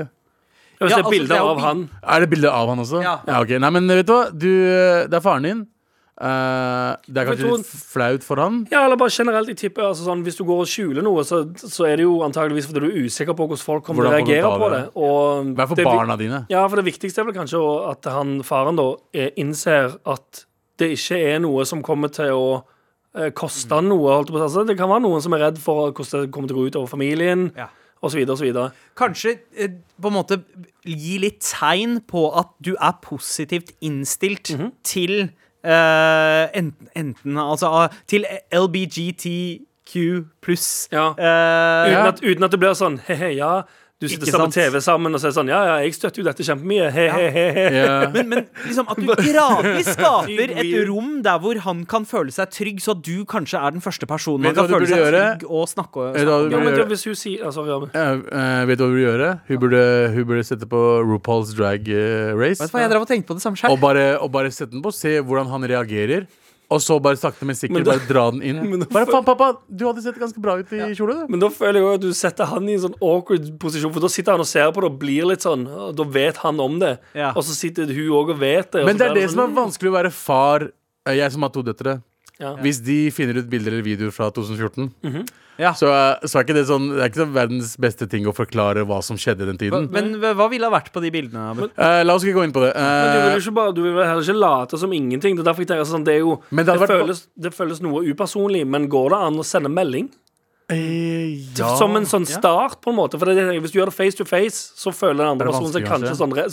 Speaker 3: Ja, Hvis
Speaker 2: Ja,
Speaker 3: det
Speaker 2: altså,
Speaker 3: er
Speaker 2: det
Speaker 3: bilder
Speaker 2: er jo
Speaker 3: av
Speaker 2: bi-
Speaker 3: han
Speaker 5: Er det bilde av han også?
Speaker 2: Ja.
Speaker 5: ok. Nei, men vet du hva? Du, det eh, er faren din. Eh, det er kanskje
Speaker 3: tror-
Speaker 5: litt flaut for han.
Speaker 3: Ja, eller bare generelt, jeg tipper altså sånn, Hvis du går og skjuler noe, så, så er det jo antageligvis fordi du er usikker på hvordan folk kommer til å
Speaker 5: Hvordan folk
Speaker 3: reagere
Speaker 5: tar
Speaker 3: på det.
Speaker 5: det.
Speaker 3: Og
Speaker 5: Hva for
Speaker 3: det er vi-
Speaker 5: barna dine?
Speaker 3: Ja, for det viktigste er vel kanskje å- at han, faren da eh, innser at det ikke er noe som kommer til å eh, koste han noe. Holdt jeg på. å si. Altså, det kan være noen som er redd for hvordan det kommer til å gå ut over familien,
Speaker 2: Ja.
Speaker 3: osv. osv.
Speaker 2: Kanskje eh, på en måte gi litt tegn på at du er positivt innstilt til eh, enten, enten Altså ah, til LBGTQ pluss
Speaker 3: Ja.
Speaker 2: eh,
Speaker 3: Uten, at- uten at det blir sånn he-he, ja. Du sitter
Speaker 2: Ikke
Speaker 3: og ser på
Speaker 2: sant?
Speaker 3: TV sammen og sier sånn Ja, ja, jeg støtter jo dette kjempemye. He-he-he.
Speaker 5: Ja.
Speaker 2: Men, men liksom at du gradvis skaper et
Speaker 3: weird.
Speaker 2: rom der hvor han kan føle seg trygg, så at du kanskje er den første personen han
Speaker 5: Vet du
Speaker 2: kan
Speaker 5: hva du
Speaker 2: føle seg
Speaker 5: burde gjøre?
Speaker 2: trygg og snakke,
Speaker 5: Vet du
Speaker 2: snakke
Speaker 3: Ja,
Speaker 5: hva du burde
Speaker 3: men det,
Speaker 5: gjøre?
Speaker 3: hvis hun sier altså, ja, men-
Speaker 5: Eh, eh, vet du hva hun burde gjøre? Hun burde, hun burde sette på RuPaul's drag eh, race.
Speaker 2: Vet du hva, Jeg drev og tenkte på det samme
Speaker 5: Og
Speaker 2: selv.
Speaker 5: bare, og bare sette den på, se hvordan han reagerer. Og så bare sakte, men sikkert
Speaker 3: Men da-
Speaker 5: bare dra den inn.
Speaker 3: Men da-
Speaker 5: Bare faen, pappa, du hadde sett ganske bra ut i kjole, du.
Speaker 3: Men da føler jeg jo at du setter han i en sånn awkward posisjon, for da sitter han og ser på det og blir litt sånn «Å, Da vet han om det,
Speaker 2: Ja.
Speaker 3: og så sitter hun òg og vet det. og
Speaker 5: Men
Speaker 3: så
Speaker 5: det er
Speaker 3: blir
Speaker 5: det som
Speaker 3: sånn,
Speaker 5: er vanskelig å være far. eh, Jeg som har to døtre.
Speaker 3: Ja.
Speaker 5: Hvis de finner ut bilder eller videoer fra 2014,
Speaker 2: Ja.
Speaker 5: så, eh, så er ikke det sånn Det er ikke sånn verdens beste ting å forklare hva som skjedde den tiden.
Speaker 2: Men hva ville ha vært på de bildene? Abel?
Speaker 5: Eh, la oss ikke gå inn på det.
Speaker 3: Men du vil
Speaker 5: Eh,
Speaker 3: jo ikke bare, du vil vel heller ikke late som ingenting. Det er derfor jeg tenker sånn, det er jo
Speaker 5: Men
Speaker 3: det,
Speaker 5: det hadde vært-
Speaker 3: føles, det føles noe upersonlig, men går det an å sende melding?
Speaker 5: eh, ja.
Speaker 3: Som en sånn start, på en måte. For det, er det jeg tenker, Hvis du gjør det face to face, så føler den
Speaker 5: Er
Speaker 3: andre
Speaker 5: det
Speaker 3: personen seg
Speaker 5: vanskelig,
Speaker 3: kanskje sånn, re-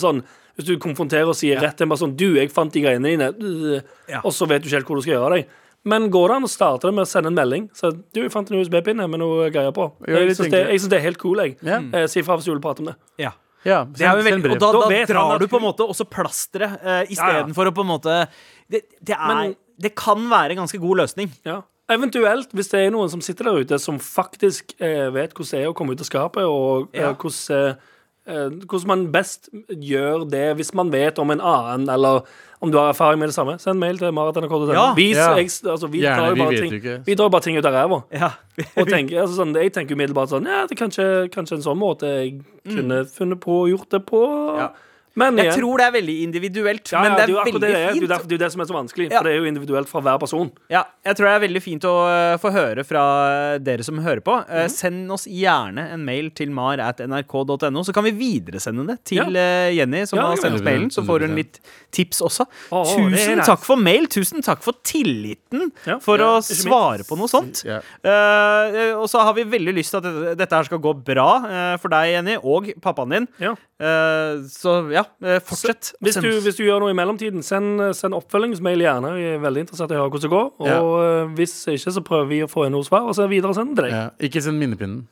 Speaker 3: sånn Hvis du konfronterer og sier rett til en person 'Du, jeg fant de greiene dine', øh,
Speaker 2: Ja.
Speaker 3: og så vet du ikke helt hvor du skal gjøre av deg. Men går det an å starte det med å sende en melding? Så, 'Du, jeg fant en USB-pinne med noe greier på'.
Speaker 5: Ja,
Speaker 3: Jeg
Speaker 5: litt
Speaker 3: syns det,
Speaker 5: enkelt.
Speaker 3: jeg synes det er helt cool, jeg.
Speaker 5: Ja.
Speaker 3: Eh, si fra hvis du vil prate om det.
Speaker 2: Ja.
Speaker 5: ja
Speaker 2: Det er jo
Speaker 5: send- send
Speaker 2: veldig, og
Speaker 5: brev.
Speaker 2: da,
Speaker 3: Da
Speaker 2: da
Speaker 3: vet han
Speaker 2: drar
Speaker 3: at
Speaker 2: du på en
Speaker 3: hun-
Speaker 2: måte også plasteret uh,
Speaker 3: ja.
Speaker 2: istedenfor å på en måte det, det, er,
Speaker 3: Men-
Speaker 2: det kan være en ganske god løsning.
Speaker 3: Ja. Eventuelt, hvis det er noen som sitter der ute som faktisk eh, vet hvordan det er å komme ut av skapet, og eh,
Speaker 2: Ja.
Speaker 3: hvordan, eh, eh, hvordan man best gjør det hvis man vet om en annen, eller om du har erfaring med det samme, send mail til marat.nrk.no.
Speaker 2: Ja.
Speaker 3: Vis-
Speaker 5: Ja.
Speaker 3: jeg- altså, vi,
Speaker 5: Gjerne,
Speaker 3: drar jo
Speaker 5: vi
Speaker 3: bare
Speaker 5: vet
Speaker 3: ting-
Speaker 5: jo ikke.
Speaker 3: vi drar jo bare ting ut av ræva.
Speaker 2: Ja.
Speaker 3: Og tenker, altså, sånn, jeg tenker umiddelbart sånn Ja, det er kanskje, kanskje en sånn måte jeg kunne funnet på og gjort det på. Men
Speaker 2: Mm. Jeg
Speaker 3: igjen-
Speaker 2: tror det er veldig individuelt,
Speaker 3: ja, ja,
Speaker 2: men det er
Speaker 3: jo akkurat
Speaker 2: veldig
Speaker 3: det, det er. Det er jo
Speaker 2: fint.
Speaker 3: derfor- det er jo det som er så vanskelig,
Speaker 2: Ja.
Speaker 3: for det er jo individuelt fra hver person.
Speaker 2: Ja, jeg tror det er veldig fint å eh, få høre fra dere som hører på.
Speaker 3: Mhm.
Speaker 2: Eh, Send oss gjerne en mail til mar.nrk.no, så kan vi videresende det til
Speaker 3: Ja.
Speaker 2: eh, Jenny, som
Speaker 3: Ja,
Speaker 2: har
Speaker 3: det
Speaker 2: sendt
Speaker 5: kan
Speaker 2: oss
Speaker 5: vi.
Speaker 2: mailen. Så får hun litt tips også.
Speaker 3: Å, å, det er
Speaker 2: Tusen
Speaker 3: nice.
Speaker 2: takk for mail, tusen takk for tilliten
Speaker 3: Ja,
Speaker 2: for
Speaker 3: ja,
Speaker 2: å
Speaker 3: ikke minst.
Speaker 2: svare på noe sånt.
Speaker 5: Ja.
Speaker 2: Eh, og så har vi veldig lyst til at dette, dette her skal gå bra eh, for deg, Jenny, og pappaen din.
Speaker 3: Ja.
Speaker 2: Eh, så ja, eh, fortsett. å
Speaker 3: Hvis
Speaker 2: sende
Speaker 3: du,
Speaker 2: oss-
Speaker 3: hvis du gjør noe i mellomtiden, send, eh, send oppfølgingsmail gjerne. Vi er veldig interessert i å høre hvordan det går. Og eh, hvis ikke, så prøver vi å få inn noe svar, og så videre send til deg.
Speaker 5: ja. Ikke send minnepinnen.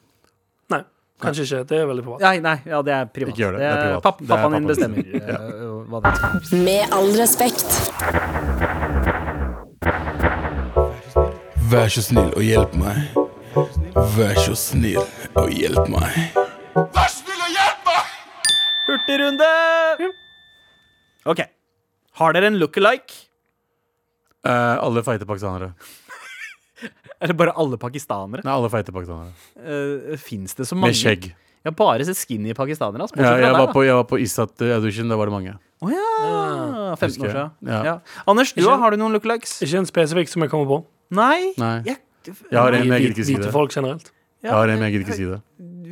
Speaker 3: Nei, kanskje ikke. Det er veldig privat.
Speaker 2: Nei, nei, ja, det er privat.
Speaker 5: Ikke gjør det, det er
Speaker 2: Eh,
Speaker 5: privat.
Speaker 2: papp-
Speaker 5: Det er
Speaker 2: pappaen din
Speaker 5: pappaen sin.
Speaker 2: bestemmer eh, hva det er.
Speaker 1: Med all respekt.
Speaker 7: Vær så snill og hjelp meg. Vær så snill og hjelp meg.
Speaker 2: Hurtigrunde! OK. Har dere en look-alike?
Speaker 5: Eh, alle feite pakistanere.
Speaker 2: Eller bare alle pakistanere?
Speaker 5: Nei, alle feite pakistanere.
Speaker 2: Uh, Fins det så mange?
Speaker 5: Med skjegg.
Speaker 2: Jeg har bare sett skinny pakistanere. ass, bortsett
Speaker 5: Ja,
Speaker 2: fra
Speaker 5: jeg,
Speaker 2: deg,
Speaker 5: var
Speaker 2: da.
Speaker 5: på, jeg var på ISAT-audition, da var det mange.
Speaker 2: Å ja! 15 år
Speaker 5: Husker jeg.
Speaker 2: siden. Ja.
Speaker 5: Ja.
Speaker 2: Anders, du, da, har du noen look-alikes?
Speaker 3: Ikke en spesifikk som jeg kommer på.
Speaker 2: Nei?
Speaker 5: Nei.
Speaker 2: Jeg,
Speaker 5: Jeg har en, men
Speaker 3: Hvite
Speaker 5: jeg gidder ikke si
Speaker 3: hvite
Speaker 5: det.
Speaker 3: folk generelt.
Speaker 5: Jeg har en, men jeg gidder ikke si det.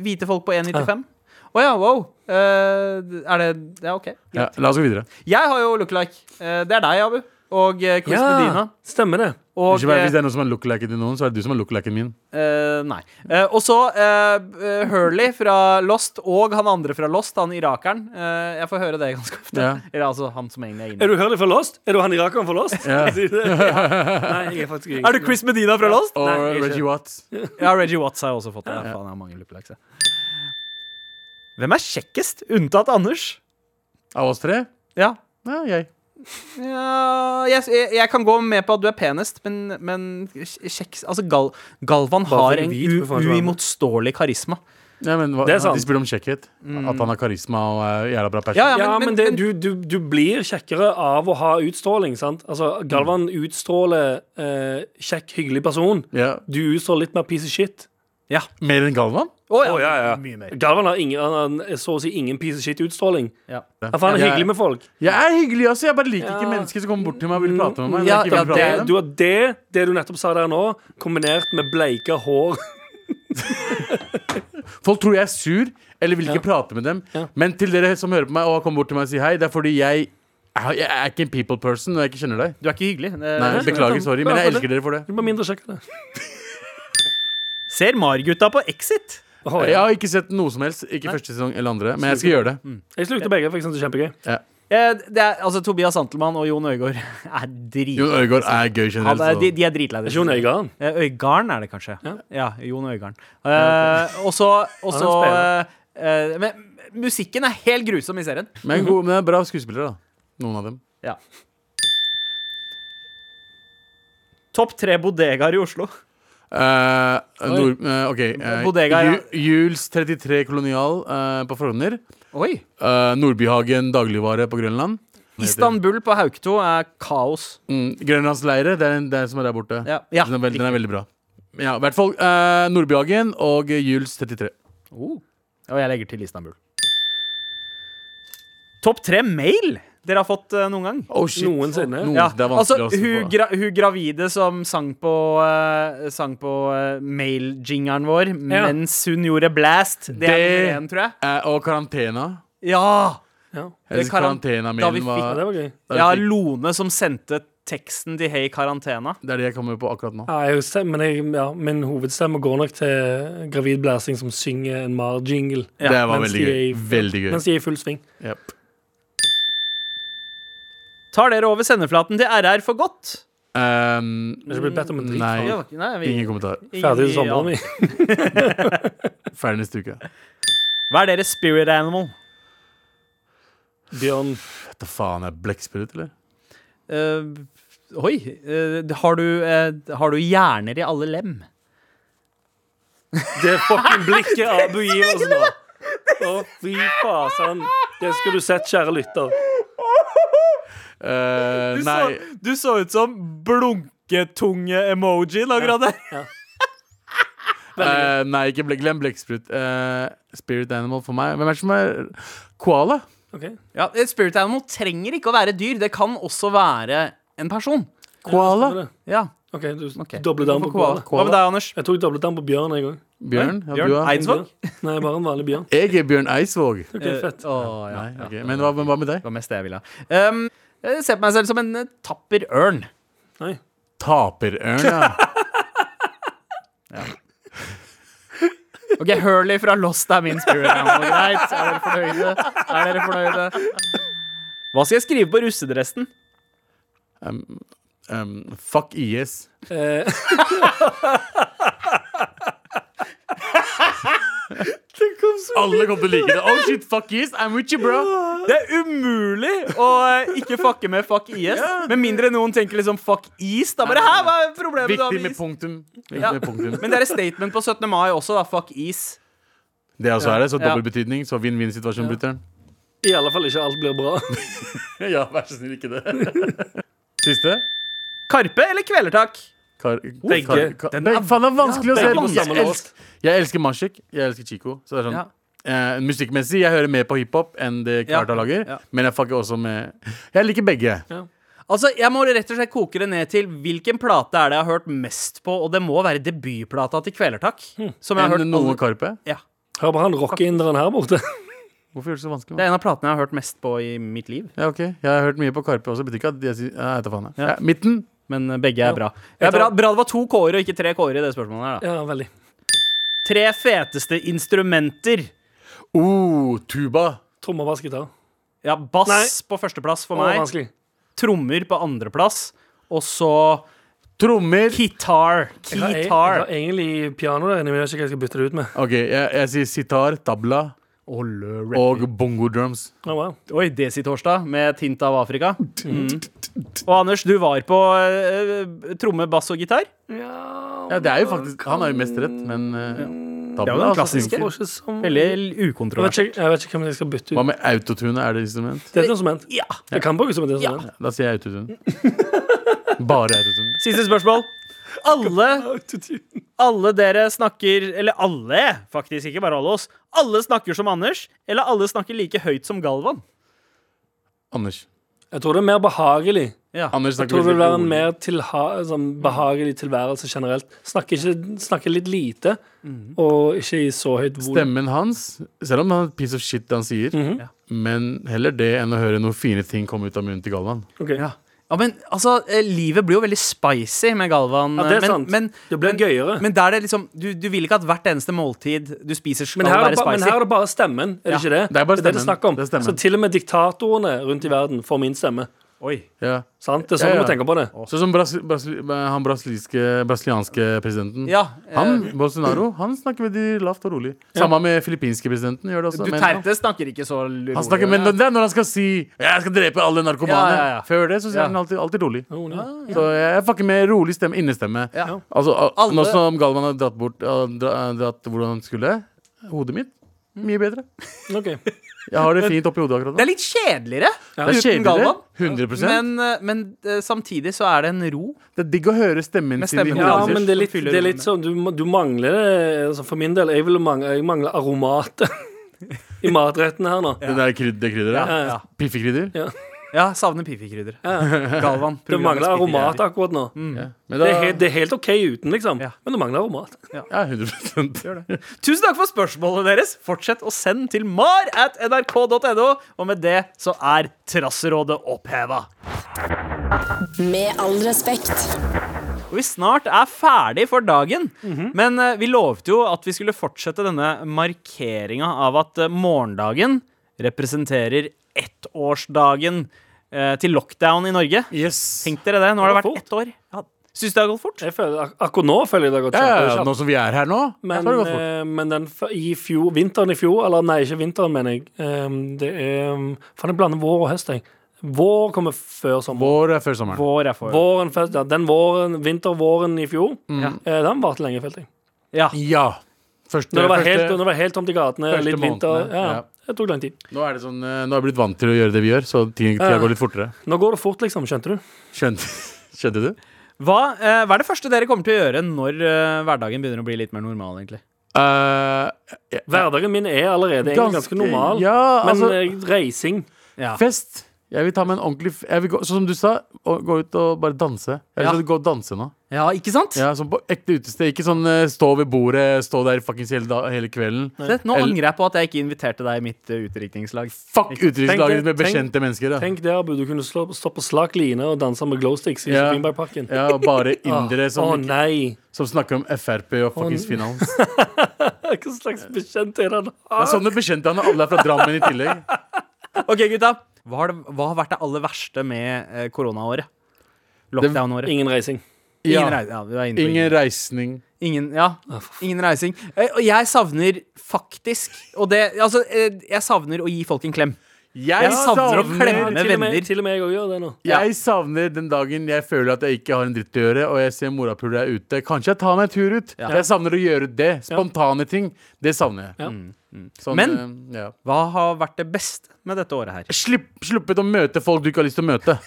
Speaker 2: Hvite folk på 1,95? Å ja, wow. Eh, er det Ja, OK.
Speaker 5: Ja, la oss gå videre.
Speaker 2: Jeg har jo look-alike. Eh, det er deg, Abu. Og eh, Chris Medina.
Speaker 3: stemmer det.
Speaker 2: Og,
Speaker 5: Ikke
Speaker 2: eh,
Speaker 5: bare, hvis det er noen som har look-liken til noen, så er det du som har look-liken min.
Speaker 2: Eh, nei. Eh, og så eh, eh, Hurley fra Lost og han andre fra Lost, han irakeren. Eh, jeg får høre det ganske ofte.
Speaker 5: Ja.
Speaker 2: Eller altså han som egentlig er
Speaker 3: Er
Speaker 2: inne.
Speaker 3: du Hurley for Lost? Er du han irakeren for Lost?
Speaker 5: Ja.
Speaker 3: Sier du det? Ja. Nei, jeg er faktisk ikke
Speaker 2: Er du Chris Medina fra Lost?
Speaker 5: Og
Speaker 3: Nei, ikke.
Speaker 5: Reggie Watts.
Speaker 2: Ja, Reggie Watts har jeg også fått. det. Ja, faen, jeg har mange lookalikes, jeg. Hvem er kjekkest, unntatt Anders?
Speaker 5: Av oss tre?
Speaker 2: Ja.
Speaker 5: Ja, jeg.
Speaker 2: ja jeg, jeg, jeg kan gå med på at du er penest, men, men kjekk Altså, Gal, Galvan har
Speaker 3: fordi
Speaker 2: en
Speaker 3: vi
Speaker 2: u-
Speaker 3: to får ikke være med.
Speaker 2: uimotståelig karisma.
Speaker 5: Nei, men, hva,
Speaker 3: Det er sant.
Speaker 5: De spiller om kjekkhet. At han har karisma og er jævla bra passion.
Speaker 2: Ja, ja,
Speaker 3: Ja,
Speaker 2: men-
Speaker 3: men,
Speaker 2: men-
Speaker 3: det,
Speaker 2: men-
Speaker 3: du, du, du blir kjekkere av å ha utstråling, sant? Altså, Galvan utstråler eh, kjekk, hyggelig person.
Speaker 5: Ja.
Speaker 3: Du utstråler litt mer piece of shit.
Speaker 2: Ja.
Speaker 5: Mer enn Galvan?
Speaker 2: Å, ja.
Speaker 3: Å, ja, ja.
Speaker 2: Mye mer.
Speaker 3: Galvan har ingen, han har eh, så å si ingen piece of shit-utstråling.
Speaker 2: Ja.
Speaker 3: For han er
Speaker 5: Ja.
Speaker 3: hyggelig med folk.
Speaker 5: Jeg er hyggelig, altså. Jeg bare liker
Speaker 3: Ja. Mm.
Speaker 5: ikke mennesker som kommer bort til meg og vil prate med meg.
Speaker 2: Ja,
Speaker 5: når jeg ikke
Speaker 2: ja,
Speaker 5: vil
Speaker 3: Det,
Speaker 5: prate med
Speaker 3: du
Speaker 5: dem.
Speaker 3: har det, det du nettopp sa der nå, kombinert med bleika hår.
Speaker 5: Folk tror jeg er sur eller vil ikke prate med dem.
Speaker 3: Ja.
Speaker 5: Men til dere som hører på meg og har kommet bort til meg og sier hei, det er fordi jeg jeg jeg er ikke en people person og jeg ikke kjenner deg.
Speaker 2: Du er ikke hyggelig. Eh, Det-
Speaker 5: Nei, Beklager, sorry, men jeg elsker dere for det.
Speaker 3: Du må mindre sjekke det.
Speaker 2: Ser Mar-gutta på Exit?
Speaker 3: Å,
Speaker 5: Jeg
Speaker 3: ja.
Speaker 5: har ikke sett noe som helst. Ikke første sesong eller andre, men jeg skal
Speaker 2: Mm.
Speaker 5: gjøre det.
Speaker 3: Jeg slukte begge, for jeg synes det er kjempegøy.
Speaker 2: Eh, det er, altså, Tobias Santelmann og Jon Øygård er
Speaker 5: Jon
Speaker 2: drit...
Speaker 5: Øygård er gøy
Speaker 2: Han
Speaker 5: generelt.
Speaker 2: er, de,
Speaker 5: så-
Speaker 2: de er dritlei
Speaker 3: Ikke hun
Speaker 2: det.
Speaker 3: Øygarden.
Speaker 2: Eh, Øygarden er det kanskje. Ja,
Speaker 3: Ja.
Speaker 2: Jon Øygarden. Eh, og så og
Speaker 3: Han er en
Speaker 2: så,
Speaker 3: spiller.
Speaker 2: eh, Men musikken er helt grusom i serien.
Speaker 5: Men, god, men det er bra skuespillere, da. Noen av dem.
Speaker 2: Ja. Topp tre bodegaer i Oslo.
Speaker 5: Eh, nord, eh, ok eh,
Speaker 2: Bodega, ja.
Speaker 5: Ju- Juls 33 Kolonial eh, på Frogner.
Speaker 2: Oi
Speaker 5: Eh, Nordbyhagen dagligvare på Grønland.
Speaker 2: Istanbul på Hauketo er kaos.
Speaker 5: Mm, Grønlandsleire, det er den det er som er der borte.
Speaker 2: Ja. Ja.
Speaker 5: Den, er veld, den er veldig bra. Ja, I hvert fall eh, Nordbyhagen og Juls 33.
Speaker 2: Oh. Og jeg legger til Istanbul. Topp tre mail dere har fått eh, noen gang?
Speaker 5: Oh, shit.
Speaker 3: Noensinne.
Speaker 5: Noen,
Speaker 2: Ja,
Speaker 5: Det er
Speaker 2: altså
Speaker 5: vanskelig å
Speaker 2: hun,
Speaker 5: svare på.
Speaker 2: gra hun gravide som sang på, uh, sang på eh, mail-jingeren vår
Speaker 3: Ja.
Speaker 2: mens hun gjorde blast. Det, er
Speaker 5: Det-
Speaker 2: nummer én, tror jeg.
Speaker 5: Eh, og karantena.
Speaker 2: Ja!
Speaker 3: Ja.
Speaker 5: Eller
Speaker 2: Det karan- da vi
Speaker 5: karantenamailen
Speaker 2: fikk-
Speaker 3: ja,
Speaker 5: var
Speaker 3: det var gøy.
Speaker 5: da vi
Speaker 2: Ja,
Speaker 5: fikk-
Speaker 2: Lone som sendte teksten til Hey Karantena.
Speaker 5: Det er det jeg kommer på akkurat nå.
Speaker 3: Ja, jeg stemmer, men jeg, ja, min hovedstemme går nok til gravid blæsing som synger en Mar-jingle.
Speaker 5: det var
Speaker 3: mens
Speaker 5: veldig
Speaker 3: de
Speaker 5: gøy.
Speaker 3: er i-
Speaker 5: Veldig gøy.
Speaker 3: Mens de er i full sving.
Speaker 5: Yep.
Speaker 2: Tar dere over sendeflaten til RR for godt?
Speaker 5: Um,
Speaker 3: Jeg har ikke blitt bedt om en drit.
Speaker 5: Nei.
Speaker 3: faen.
Speaker 2: Ja, Nei, vi,
Speaker 5: ingen kommentar.
Speaker 3: Ferdig til
Speaker 2: ingen- ja.
Speaker 3: sommeren, vi.
Speaker 5: Ferdig neste uke.
Speaker 2: Hva er deres spirit animal?
Speaker 3: Bjørn.
Speaker 5: Hva faen er blekksprut, eller?
Speaker 2: Eh, oi. eh, har, du, eh, har du hjerner i alle lem?
Speaker 3: Det fucking blikket Abu gir oss nå. Å, fy fasan. Det skulle du sett, kjære lytter.
Speaker 5: Eh, nei.
Speaker 2: du så ut som blunketunge-emojien akkurat der.
Speaker 5: Eh, nei, ikke ble, glem blekksprut. Eh, spirit animal for meg. Hvem er det som er Koala?
Speaker 3: Ok.
Speaker 2: Ja, et spirit animal trenger ikke å være dyr. Det kan også være en person.
Speaker 5: Koala?
Speaker 2: Ja.
Speaker 3: OK, du
Speaker 2: Ok.
Speaker 3: doblet down på koala.
Speaker 2: Hva med deg, Anders?
Speaker 3: Jeg tror jeg doblet down på bjørn en gang.
Speaker 5: Bjørn? Ja,
Speaker 2: Bjørn
Speaker 5: du er.
Speaker 2: Eidsvåg?
Speaker 3: Nei, bare en vanlig bjørn.
Speaker 5: Jeg er Bjørn Eidsvåg.
Speaker 3: Ok, fett.
Speaker 2: Eh, Å, ja.
Speaker 5: Nei, ok. Men hva, men hva med
Speaker 2: Det
Speaker 5: deg?
Speaker 2: var mest det jeg ville. Um, jeg ser på meg selv som en eh, tapper ørn.
Speaker 3: Nei.
Speaker 5: Taperørn, ja.
Speaker 2: Ok, Hurley fra Lost er min spirit animal. Greit. Er dere fornøyde? Er dere fornøyde? Hva skal jeg skrive på russedressen?
Speaker 5: Um, fuck IS.
Speaker 3: Eh,
Speaker 5: Alle kommer til å like det. Oh shit, fuck IS. I'm with you, bro.
Speaker 2: Det er umulig å eh, ikke fucke med fuck IS. Med mindre noen tenker liksom fuck is. Da bare her, hva er problemet du har
Speaker 5: Viktig
Speaker 2: med
Speaker 5: med
Speaker 2: is?
Speaker 5: punktum. Viktig
Speaker 2: Ja.
Speaker 5: med punktum.
Speaker 2: Men det er et statement på 17. mai også, da. Fuck is.
Speaker 5: Det er også er det, så
Speaker 2: Ja.
Speaker 5: dobbel betydning. Så vinn-vinn-situasjon, brutter'n.
Speaker 3: I alle fall ikke alt blir bra.
Speaker 5: Ja, vær så snill, ikke det. Siste?
Speaker 2: Karpe eller kvelertak?
Speaker 5: Kar
Speaker 3: Begge.
Speaker 5: Kar kar
Speaker 2: Den
Speaker 5: Nei,
Speaker 2: er-
Speaker 5: faen, det er vanskelig
Speaker 2: Ja, begge
Speaker 5: å
Speaker 2: på
Speaker 5: se på.
Speaker 3: samme
Speaker 5: Jeg
Speaker 3: låt.
Speaker 5: elsker, jeg elsker Mashik, jeg elsker Chico. Så det er sånn,
Speaker 2: Ja.
Speaker 5: eh, musikkmessig, jeg hører mer på hiphop enn det
Speaker 2: Ja,
Speaker 5: Kvarta lager.
Speaker 2: ja.
Speaker 5: Men jeg fucker også med Jeg liker begge.
Speaker 2: Altså, Jeg må rett og slett koke det ned til hvilken plate er det jeg har hørt mest på, og det må være debutplata til Kvelertak.
Speaker 3: Hm.
Speaker 2: Som jeg har hørt
Speaker 5: Enn noe
Speaker 2: alle-
Speaker 5: Karpe.
Speaker 2: ja.
Speaker 3: Hør på han rockeinderen her borte.
Speaker 5: Hvorfor gjør du det så vanskelig?
Speaker 2: Det
Speaker 5: mann?
Speaker 2: er en av platene jeg har hørt mest på i mitt liv.
Speaker 5: Ja, ok Jeg har hørt mye på Karpe også. Betyr ikke at jeg sier ja, jeg vet da faen. jeg. Ja, midten.
Speaker 2: Men eh, begge er bra. Det er bra,
Speaker 3: tar-
Speaker 2: bra det var to K-er og ikke tre K-er i det spørsmålet her, da.
Speaker 3: Ja, veldig.
Speaker 2: Tre feteste instrumenter.
Speaker 5: Oh, tuba.
Speaker 3: Trommer, bass, gitar.
Speaker 2: Ja, bass
Speaker 3: Nei.
Speaker 2: på førsteplass for
Speaker 3: Å,
Speaker 2: meg.
Speaker 3: vanskelig.
Speaker 2: Trommer på andreplass. Og så
Speaker 5: Trommer.
Speaker 2: guitar.
Speaker 3: Jeg har, jeg, jeg
Speaker 2: Guitar.
Speaker 3: har egentlig piano der inne, men jeg vet ikke hva jeg skal bytte det ut med.
Speaker 5: Ok, jeg, jeg sier sitar, tabla
Speaker 2: Og lø-
Speaker 5: og bongo drums.
Speaker 3: Å, wow.
Speaker 2: Oi, Desi-torsdag med et hint av Afrika. Mm. Og Anders, du var på eh, tromme, bass og gitar.
Speaker 5: Ja, det er jo faktisk Han har jo mest rett, men eh,
Speaker 2: Det er
Speaker 3: Mm.
Speaker 5: tabla
Speaker 2: jo den
Speaker 5: altså,
Speaker 2: klassiske.
Speaker 5: funker.
Speaker 3: Får ikke sånn-
Speaker 2: Veldig
Speaker 3: Jeg vet
Speaker 2: ukontroversielt.
Speaker 3: ikke, jeg vet ikke hvem jeg skal bytte
Speaker 5: Hva
Speaker 3: ut.
Speaker 5: med autotune? Er det instrument?
Speaker 3: Det er et instrument.
Speaker 2: Ja.
Speaker 3: Det kan brukes som et instrument.
Speaker 5: Da sier jeg autotune. Bare autotune.
Speaker 2: Siste spørsmål. Alle,
Speaker 3: Autotune.
Speaker 2: alle dere snakker Eller alle, faktisk, ikke bare alle oss. Alle snakker som Anders, eller alle snakker like høyt som Galvan.
Speaker 5: Anders.
Speaker 3: Jeg tror det er mer behagelig.
Speaker 2: Ja.
Speaker 5: Anders
Speaker 3: Jeg
Speaker 5: snakker
Speaker 3: tror det vil
Speaker 5: veldig
Speaker 3: være en
Speaker 5: rolig.
Speaker 3: mer tilha, sånn, behagelig tilværelse generelt. Snakke, ikke, snakke litt lite, og ikke i så høyt volum.
Speaker 5: Stemmen hans, selv om han er piece of shit det han sier,
Speaker 3: Mhm.
Speaker 2: Ja.
Speaker 5: men heller det enn å høre noen fine ting komme ut av munnen til Galvan.
Speaker 3: Ok. Ja.
Speaker 2: Ja, men altså, eh, Livet blir jo veldig spicy med Galvan. eh,
Speaker 3: det er
Speaker 2: men,
Speaker 3: sant.
Speaker 2: Men,
Speaker 3: det blir gøyere. Men,
Speaker 2: men der det liksom du, du vil ikke at hvert eneste måltid du spiser, skal
Speaker 3: her, er
Speaker 2: være
Speaker 3: det ba, men
Speaker 2: spicy.
Speaker 3: her er det bare stemmen, er det ikke det?
Speaker 5: det er bare
Speaker 3: det, er det
Speaker 5: stemmen.
Speaker 3: snakker om.
Speaker 5: Det er stemmen.
Speaker 3: så til og med diktatorene rundt i verden får min stemme.
Speaker 2: Oi.
Speaker 5: Ja.
Speaker 3: Sant? Det er sånn
Speaker 5: Ja, ja.
Speaker 3: du må tenke på det.
Speaker 5: Sånn som Bras Brasili- han brasilianske, brasilianske presidenten.
Speaker 2: Ja, eh,
Speaker 5: Han, Bolsonaro, han snakker veldig lavt og rolig. Samme med filippinske presidenten. gjør det også men-
Speaker 2: Duterte snakker ikke så rolig.
Speaker 5: Han snakker, men det er når han skal si 'jeg skal drepe alle narkomane'.
Speaker 2: Ja, ja, ja.
Speaker 5: Før det så
Speaker 2: Ja.
Speaker 5: sier han alltid, alltid rolig.
Speaker 3: Jo, ja.
Speaker 5: Så jeg fucker med rolig stemme, innestemme.
Speaker 2: Ja.
Speaker 5: Altså, al-
Speaker 2: Alle-
Speaker 5: Nå som Galvan har dratt bort ah, dra- dratt hvordan han skulle, hodet mitt mye bedre.
Speaker 3: Ok.
Speaker 5: Jeg har det fint oppi hodet akkurat
Speaker 2: Det
Speaker 5: nå.
Speaker 2: er litt kjedeligere
Speaker 5: Det er
Speaker 2: uten
Speaker 5: kjedeligere.
Speaker 2: Galvan.
Speaker 5: 100
Speaker 2: Men, eh, men eh, samtidig så er det en ro.
Speaker 5: Det er digg å høre stemmen
Speaker 2: Med
Speaker 5: sin i
Speaker 2: stemmen.
Speaker 3: Ja,
Speaker 5: hodet.
Speaker 2: Ja,
Speaker 5: hans.
Speaker 3: men det er litt,
Speaker 2: som fyller
Speaker 3: det er litt
Speaker 2: rommet.
Speaker 3: sånn du, må- du mangler det altså For min del, jeg, vil mangle, jeg mangler aromat i matretten her nå.
Speaker 5: Det der kryd, det krydderet.
Speaker 3: Ja, ja.
Speaker 5: Piffekrydder.
Speaker 2: Ja, savner piffikrydder. Galvan.
Speaker 3: Det
Speaker 2: programmets
Speaker 3: mangler aromat
Speaker 2: piffikrydder.
Speaker 3: akkurat nå.
Speaker 5: Ja. Men da,
Speaker 3: Det er, helt, det er helt OK uten, liksom.
Speaker 2: Ja.
Speaker 3: Men det mangler aromat.
Speaker 5: Ja, 100 Gjør det.
Speaker 2: Tusen takk for spørsmålene deres. Fortsett å sende til mar at nrk.no. Og med det så er Trasserådet oppheva.
Speaker 1: Med all respekt.
Speaker 2: Og vi snart er ferdig for dagen. Men eh, vi lovte jo at vi skulle fortsette denne markeringa av at eh, morgendagen representerer ettårsdagen eh, til lockdown i Norge.
Speaker 5: Yes.
Speaker 2: Tenk dere det. Nå har det vært
Speaker 3: Det
Speaker 2: ett år. Ja. Syns du det har gått fort?
Speaker 3: Jeg føler, ak akkurat nå føler jeg det har gått
Speaker 5: Ja, ja, ja,
Speaker 3: kjapt-
Speaker 5: nå
Speaker 3: kjapt.
Speaker 5: som vi er her nå,
Speaker 3: Men,
Speaker 5: så har det gått fort.
Speaker 3: eh, men den f- i fjor, vinteren i fjor Eller nei, ikke vinteren, mener jeg. Ehm, det er um, Faen, jeg blander vår og høst, jeg. Vår kommer før sommeren.
Speaker 5: Vår er før sommeren.
Speaker 2: Vår er for.
Speaker 3: Våren, først- ja, den våren, vintervåren i fjor,
Speaker 5: Mm.
Speaker 3: eh, den varte lenge, følte jeg.
Speaker 2: Ja.
Speaker 5: Ja. Første,
Speaker 3: Når det var helt,
Speaker 5: første-
Speaker 3: når det var helt tomt i gatene,
Speaker 5: første
Speaker 3: litt vinter
Speaker 5: månedene,
Speaker 3: ja,
Speaker 5: ja.
Speaker 3: Det tok lang tid.
Speaker 5: Nå er det sånn, eh, nå er jeg blitt vant til å gjøre det vi gjør, så ting- tida
Speaker 3: Ja.
Speaker 5: går litt fortere.
Speaker 3: Nå går det fort, liksom. Skjønte du?
Speaker 5: Skjønte, skjønte du?
Speaker 2: Hva, eh, hva er det første dere kommer til å gjøre når eh, hverdagen begynner å bli litt mer normal, egentlig?
Speaker 5: Eh,
Speaker 3: Hverdagen min er allerede egentlig ganske normal,
Speaker 5: Ja,
Speaker 3: men
Speaker 5: altså,
Speaker 3: eh, reising
Speaker 2: Ja.
Speaker 5: fest. Jeg vil ta med en ordentlig f- jeg vil gå, Sånn som du sa, å- gå ut og bare danse. Jeg vil sånn
Speaker 2: Ja.
Speaker 5: gå og danse nå.
Speaker 2: Ja, ikke sant?
Speaker 5: Ja, sånn på ekte utested. Ikke sånn eh, stå ved bordet, stå der fuckings hele, da, hele kvelden.
Speaker 2: Se, nå
Speaker 5: Eller-
Speaker 2: angrer jeg på at jeg ikke inviterte deg i mitt eh, utdrikningslag.
Speaker 3: Tenk
Speaker 5: Fuck
Speaker 3: det-
Speaker 5: utenrikslaget med
Speaker 3: tenk-
Speaker 5: bekjente mennesker. Da.
Speaker 3: Tenk der, Bu. Du kunne slå, stå på slak line og danse med glowsticks i
Speaker 5: Ja.
Speaker 3: Springbergparken.
Speaker 5: Ja, og bare
Speaker 3: Åh,
Speaker 5: indere
Speaker 3: Å
Speaker 5: som,
Speaker 3: nei!
Speaker 5: som snakker om Frp og fuckings finans.
Speaker 3: Hva slags bekjent er han?
Speaker 5: Det er sånne bekjente han og alle er fra Drammen i tillegg.
Speaker 2: Ok, gutta. Hva har, det, hva har vært det aller verste med eh, koronaåret? Lockdown-året.
Speaker 3: Ingen reising.
Speaker 5: Ja.
Speaker 2: Ingen, reis- ja, du er inne på
Speaker 5: Ingen
Speaker 2: ingen,
Speaker 5: reisning.
Speaker 2: ingen, ja, ingen reising. Eh, Og jeg savner faktisk Og det Altså, eh, jeg savner å gi folk en klem. Jeg savner å klemme
Speaker 3: til, og med,
Speaker 2: venner.
Speaker 3: til og med jeg òg gjør det nå.
Speaker 5: Jeg savner den dagen jeg føler at jeg ikke har en dritt å gjøre, og jeg ser morapuler er ute. Kanskje jeg tar meg en tur ut. Jeg savner å gjøre det. Spontane ting. Det savner jeg.
Speaker 3: Ja.
Speaker 5: Sånn,
Speaker 2: Men-
Speaker 5: eh, ja.
Speaker 2: Hva har vært det beste med dette året her?
Speaker 5: Slipp, sluppet å møte folk du ikke har lyst til å møte.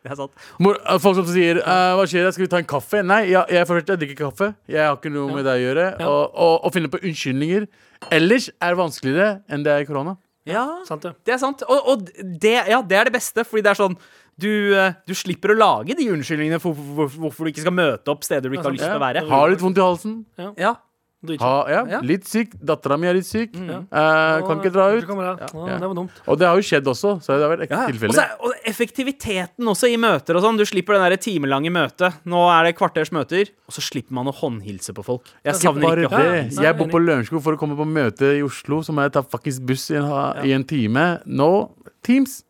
Speaker 2: Det er sant.
Speaker 5: Mor, eh, folk som sier eh, 'Hva skjer? Skal vi ta en kaffe?' Nei, jeg, jeg, for det første, jeg drikker ikke kaffe. Jeg har ikke noe med deg å gjøre. Og, og, og finne på unnskyldninger ellers er vanskeligere enn det er i korona.
Speaker 2: Ja,
Speaker 3: Sant det?
Speaker 2: det er sant. Og, og det, ja, det er det beste, fordi det er sånn du, eh, du slipper å lage de unnskyldningene for for- for- hvorfor du ikke skal møte opp steder du ikke har lyst til å være.
Speaker 5: Har litt vondt i halsen.
Speaker 2: Ja,
Speaker 5: Ha, ja.
Speaker 2: Ja.
Speaker 5: Litt syk. Dattera mi er litt syk. Eh, kan ikke dra
Speaker 3: Å,
Speaker 5: ut.
Speaker 3: kommer der. Å,
Speaker 5: Ja.
Speaker 3: Det var dumt.
Speaker 5: Og det har jo skjedd også, så det har vært
Speaker 2: Ja,
Speaker 5: ekte
Speaker 2: ja. Og, så
Speaker 5: tilfeller.
Speaker 2: er, og effektiviteten også i møter og sånn. Du slipper den det timelange møtet. Nå er det kvarters møter, og så slipper man å håndhilse på folk. Jeg savner
Speaker 5: Bare
Speaker 2: ikke å
Speaker 5: det. Jeg bor på Lørenskog for å komme på møte i Oslo, så må jeg ta fuckings buss i en, ha- i en time. Nå Teams.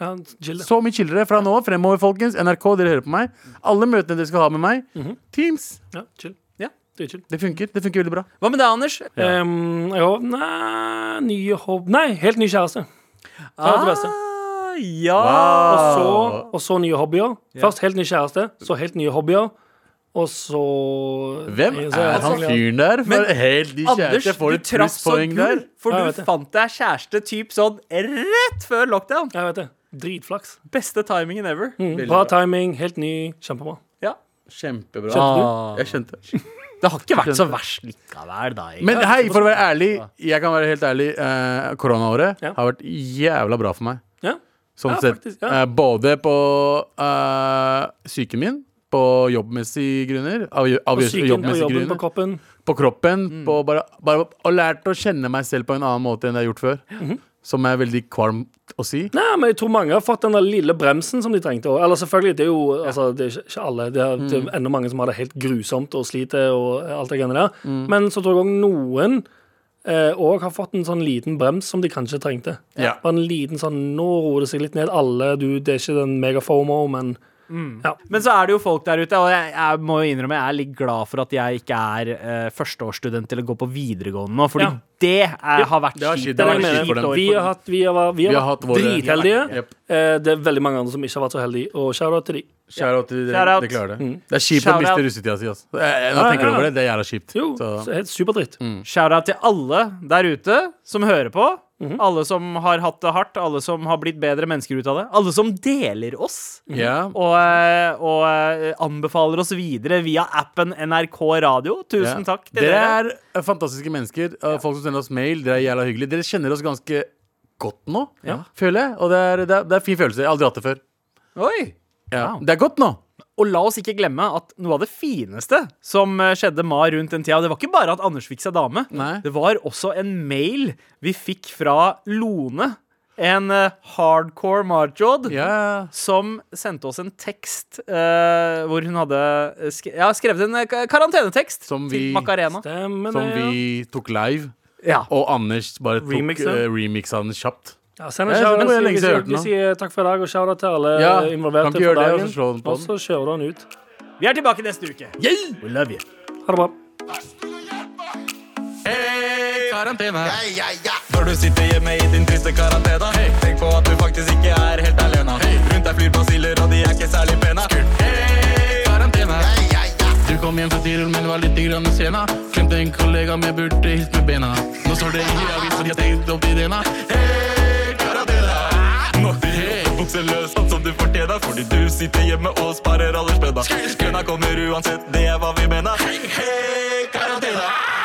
Speaker 3: Ja, chill det.
Speaker 5: Så mye chillere fra nå av fremover, folkens. NRK, dere hører på meg. Alle møtene dere skal ha med meg. Teams.
Speaker 3: Ja, chill.
Speaker 2: Ja.
Speaker 3: Det er chill.
Speaker 5: Det funker. Det funker veldig bra.
Speaker 2: Hva med deg, Anders?
Speaker 3: Ehm, jeg håper Nei, nye håp Nei, helt ny kjæreste. Det var det beste.
Speaker 2: Ah, ja.
Speaker 3: Og
Speaker 5: Ah.
Speaker 3: så, og så nye hobbyer. Først helt ny kjæreste, så helt nye hobbyer. Og så
Speaker 5: Hvem
Speaker 3: Jeg- så-
Speaker 5: er han fyren der? For
Speaker 2: Men
Speaker 5: helt ny
Speaker 2: Anders,
Speaker 5: kjæreste får
Speaker 2: du
Speaker 5: et
Speaker 2: traff så
Speaker 5: plusspoeng der.
Speaker 2: gull, for
Speaker 3: Ja,
Speaker 2: du
Speaker 3: jeg vet det.
Speaker 2: fant deg kjæreste typ sånn rett før lockdown.
Speaker 3: Jeg vet det. Dritflaks.
Speaker 2: Beste timingen ever.
Speaker 3: Bra timing, helt ny. Kjempebra.
Speaker 2: Ja.
Speaker 5: Kjempebra.
Speaker 3: Skjønte
Speaker 5: Jeg skjønte.
Speaker 2: Det har ikke vært så verst likevel, da. egentlig.
Speaker 5: Men hei, for å være ærlig, jeg kan være helt ærlig. Eh, koronaåret
Speaker 3: Ja.
Speaker 5: har vært jævla bra for meg.
Speaker 3: Ja.
Speaker 5: Sånn
Speaker 3: Ja,
Speaker 5: sett.
Speaker 3: faktisk, ja.
Speaker 5: Eh, både på eh, psyken min, på jobbmessige grunner, av, av
Speaker 3: På psyken og
Speaker 5: jobbmessige
Speaker 3: jobben
Speaker 5: grunner,
Speaker 3: på Mm. kroppen.
Speaker 5: på kroppen. På bare, bare, og lært å kjenne meg selv på en annen måte enn jeg har gjort før.
Speaker 3: Mhm.
Speaker 5: Som er veldig kvalmt å si.
Speaker 3: Nei, men jeg tror mange har fått den der lille bremsen som de trengte. også. Eller selvfølgelig, det er jo altså, det er ikke- ikke alle. Det er, det
Speaker 5: Mm.
Speaker 3: er enda mange som har det helt grusomt og sliter og alt det greiene der.
Speaker 5: Mm.
Speaker 3: Men så tror jeg òg noen òg har fått en sånn liten brems som de kanskje trengte.
Speaker 5: Ja.
Speaker 3: Bare en liten sånn Nå roer det seg litt ned. Alle, du, det er ikke den megafomo, men ja.
Speaker 2: Men så er det jo folk der ute, og jeg, jeg må jo innrømme jeg er litt glad for at jeg ikke er eh, førsteårsstudent til å gå på videregående nå, fordi
Speaker 3: Ja.
Speaker 2: det eh, har vært
Speaker 5: det har
Speaker 2: kjipt.
Speaker 5: skjedd- det
Speaker 3: Det
Speaker 5: var
Speaker 3: er det jeg
Speaker 5: kjipt for
Speaker 3: mener.
Speaker 5: dem.
Speaker 3: Vi har hatt, vi har, vi har,
Speaker 5: Vi har hatt våre-
Speaker 3: dritheldige.
Speaker 5: Jep.
Speaker 3: Eh, Det er veldig mange andre som ikke har vært så heldige, og shout-out til de.
Speaker 5: Shout out til dere.
Speaker 2: Shout out.
Speaker 5: Dere klarer det. Det er kjipt å
Speaker 2: Shout out.
Speaker 5: miste russetida si. Altså. Eh, eh, Når jeg
Speaker 3: Mm.
Speaker 5: tenker
Speaker 3: ja.
Speaker 5: over det, det er jævla kjipt.
Speaker 3: Jo,
Speaker 5: Så, Mm.
Speaker 3: så helt superdritt.
Speaker 2: Shout-out til alle der ute som hører på. Alle som har hatt det hardt, alle som har blitt bedre mennesker ut av det. Alle som deler oss
Speaker 5: ja.
Speaker 3: Mm.
Speaker 2: og, eh, og eh, anbefaler oss videre via appen NRK Radio. Tusen
Speaker 5: Ja.
Speaker 2: takk til dere.
Speaker 5: er eh, fantastiske mennesker. eh, Folk som sender oss mail. Dere er jævla hyggelige. Dere kjenner oss ganske godt nå, føler jeg. Og det er, det, er, det er fin følelse. Jeg har aldri hatt det før.
Speaker 2: Oi!
Speaker 5: Ja. Det er godt nå.
Speaker 2: Og la oss ikke glemme at noe av det fineste som eh, skjedde Ma rundt den tida, det var ikke bare at Anders fikk seg dame.
Speaker 5: Nei.
Speaker 2: Det var også en mail vi fikk fra Lone, en eh, hardcore marjod,
Speaker 5: Ja.
Speaker 2: som sendte oss en tekst eh, hvor hun hadde eh, sk ja, skrevet en eh, ka- karantenetekst
Speaker 5: Som
Speaker 2: til
Speaker 5: vi-
Speaker 2: Macarena.
Speaker 3: Stemmer
Speaker 5: Som
Speaker 3: det, ja.
Speaker 5: vi tok live.
Speaker 2: eh, Ja.
Speaker 5: Og Anders bare tok
Speaker 3: Remixen.
Speaker 5: eh, remixa den kjapt.
Speaker 3: Ja, send en
Speaker 5: Jeg
Speaker 3: shout-out.
Speaker 5: skjønner hvor jeg
Speaker 3: Vi
Speaker 5: lenge siden jeg
Speaker 3: sier-
Speaker 5: hørte
Speaker 3: Vi
Speaker 5: den nå.
Speaker 3: sier takk for i dag, og shout-out til alle
Speaker 5: Ja, kan
Speaker 3: involverte
Speaker 5: ikke
Speaker 3: for
Speaker 5: gjøre det, og
Speaker 3: dagen.
Speaker 5: så slå den på
Speaker 3: og så kjører han ut.
Speaker 2: Vi er tilbake neste uke. We love you.
Speaker 3: Ha det bra.
Speaker 8: Når du sitter hjemme i din triste karantene Tenk på at du faktisk ikke er helt alene Rundt deg flyr basiller og de er ikke særlig pene Hei, karantene
Speaker 7: Du kom hjem fra Tirol, men var litt grann sena. Glemte en kollega, men jeg burde hilst med bena. Nå står det i avisen, jeg har stengt opp idena.
Speaker 8: Hei, karantene Nå blir helt bukseløs, sånn som du fortjener Fordi du sitter hjemme og sparer alle spenna Kønna kommer uansett, det er hva vi mener Hei, karantene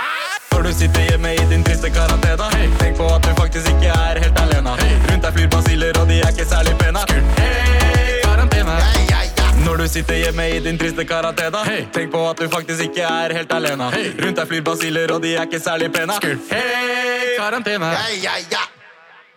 Speaker 8: når du sitter hjemme i din triste karantene Tenk på at du faktisk ikke er helt alene Rundt deg flyr basiller og de er ikke særlig pene Hei, karantene Når du sitter hjemme i din triste karantene Tenk på at du faktisk ikke er helt alene Rundt deg flyr basiller og de er ikke særlig pene Hei, karantene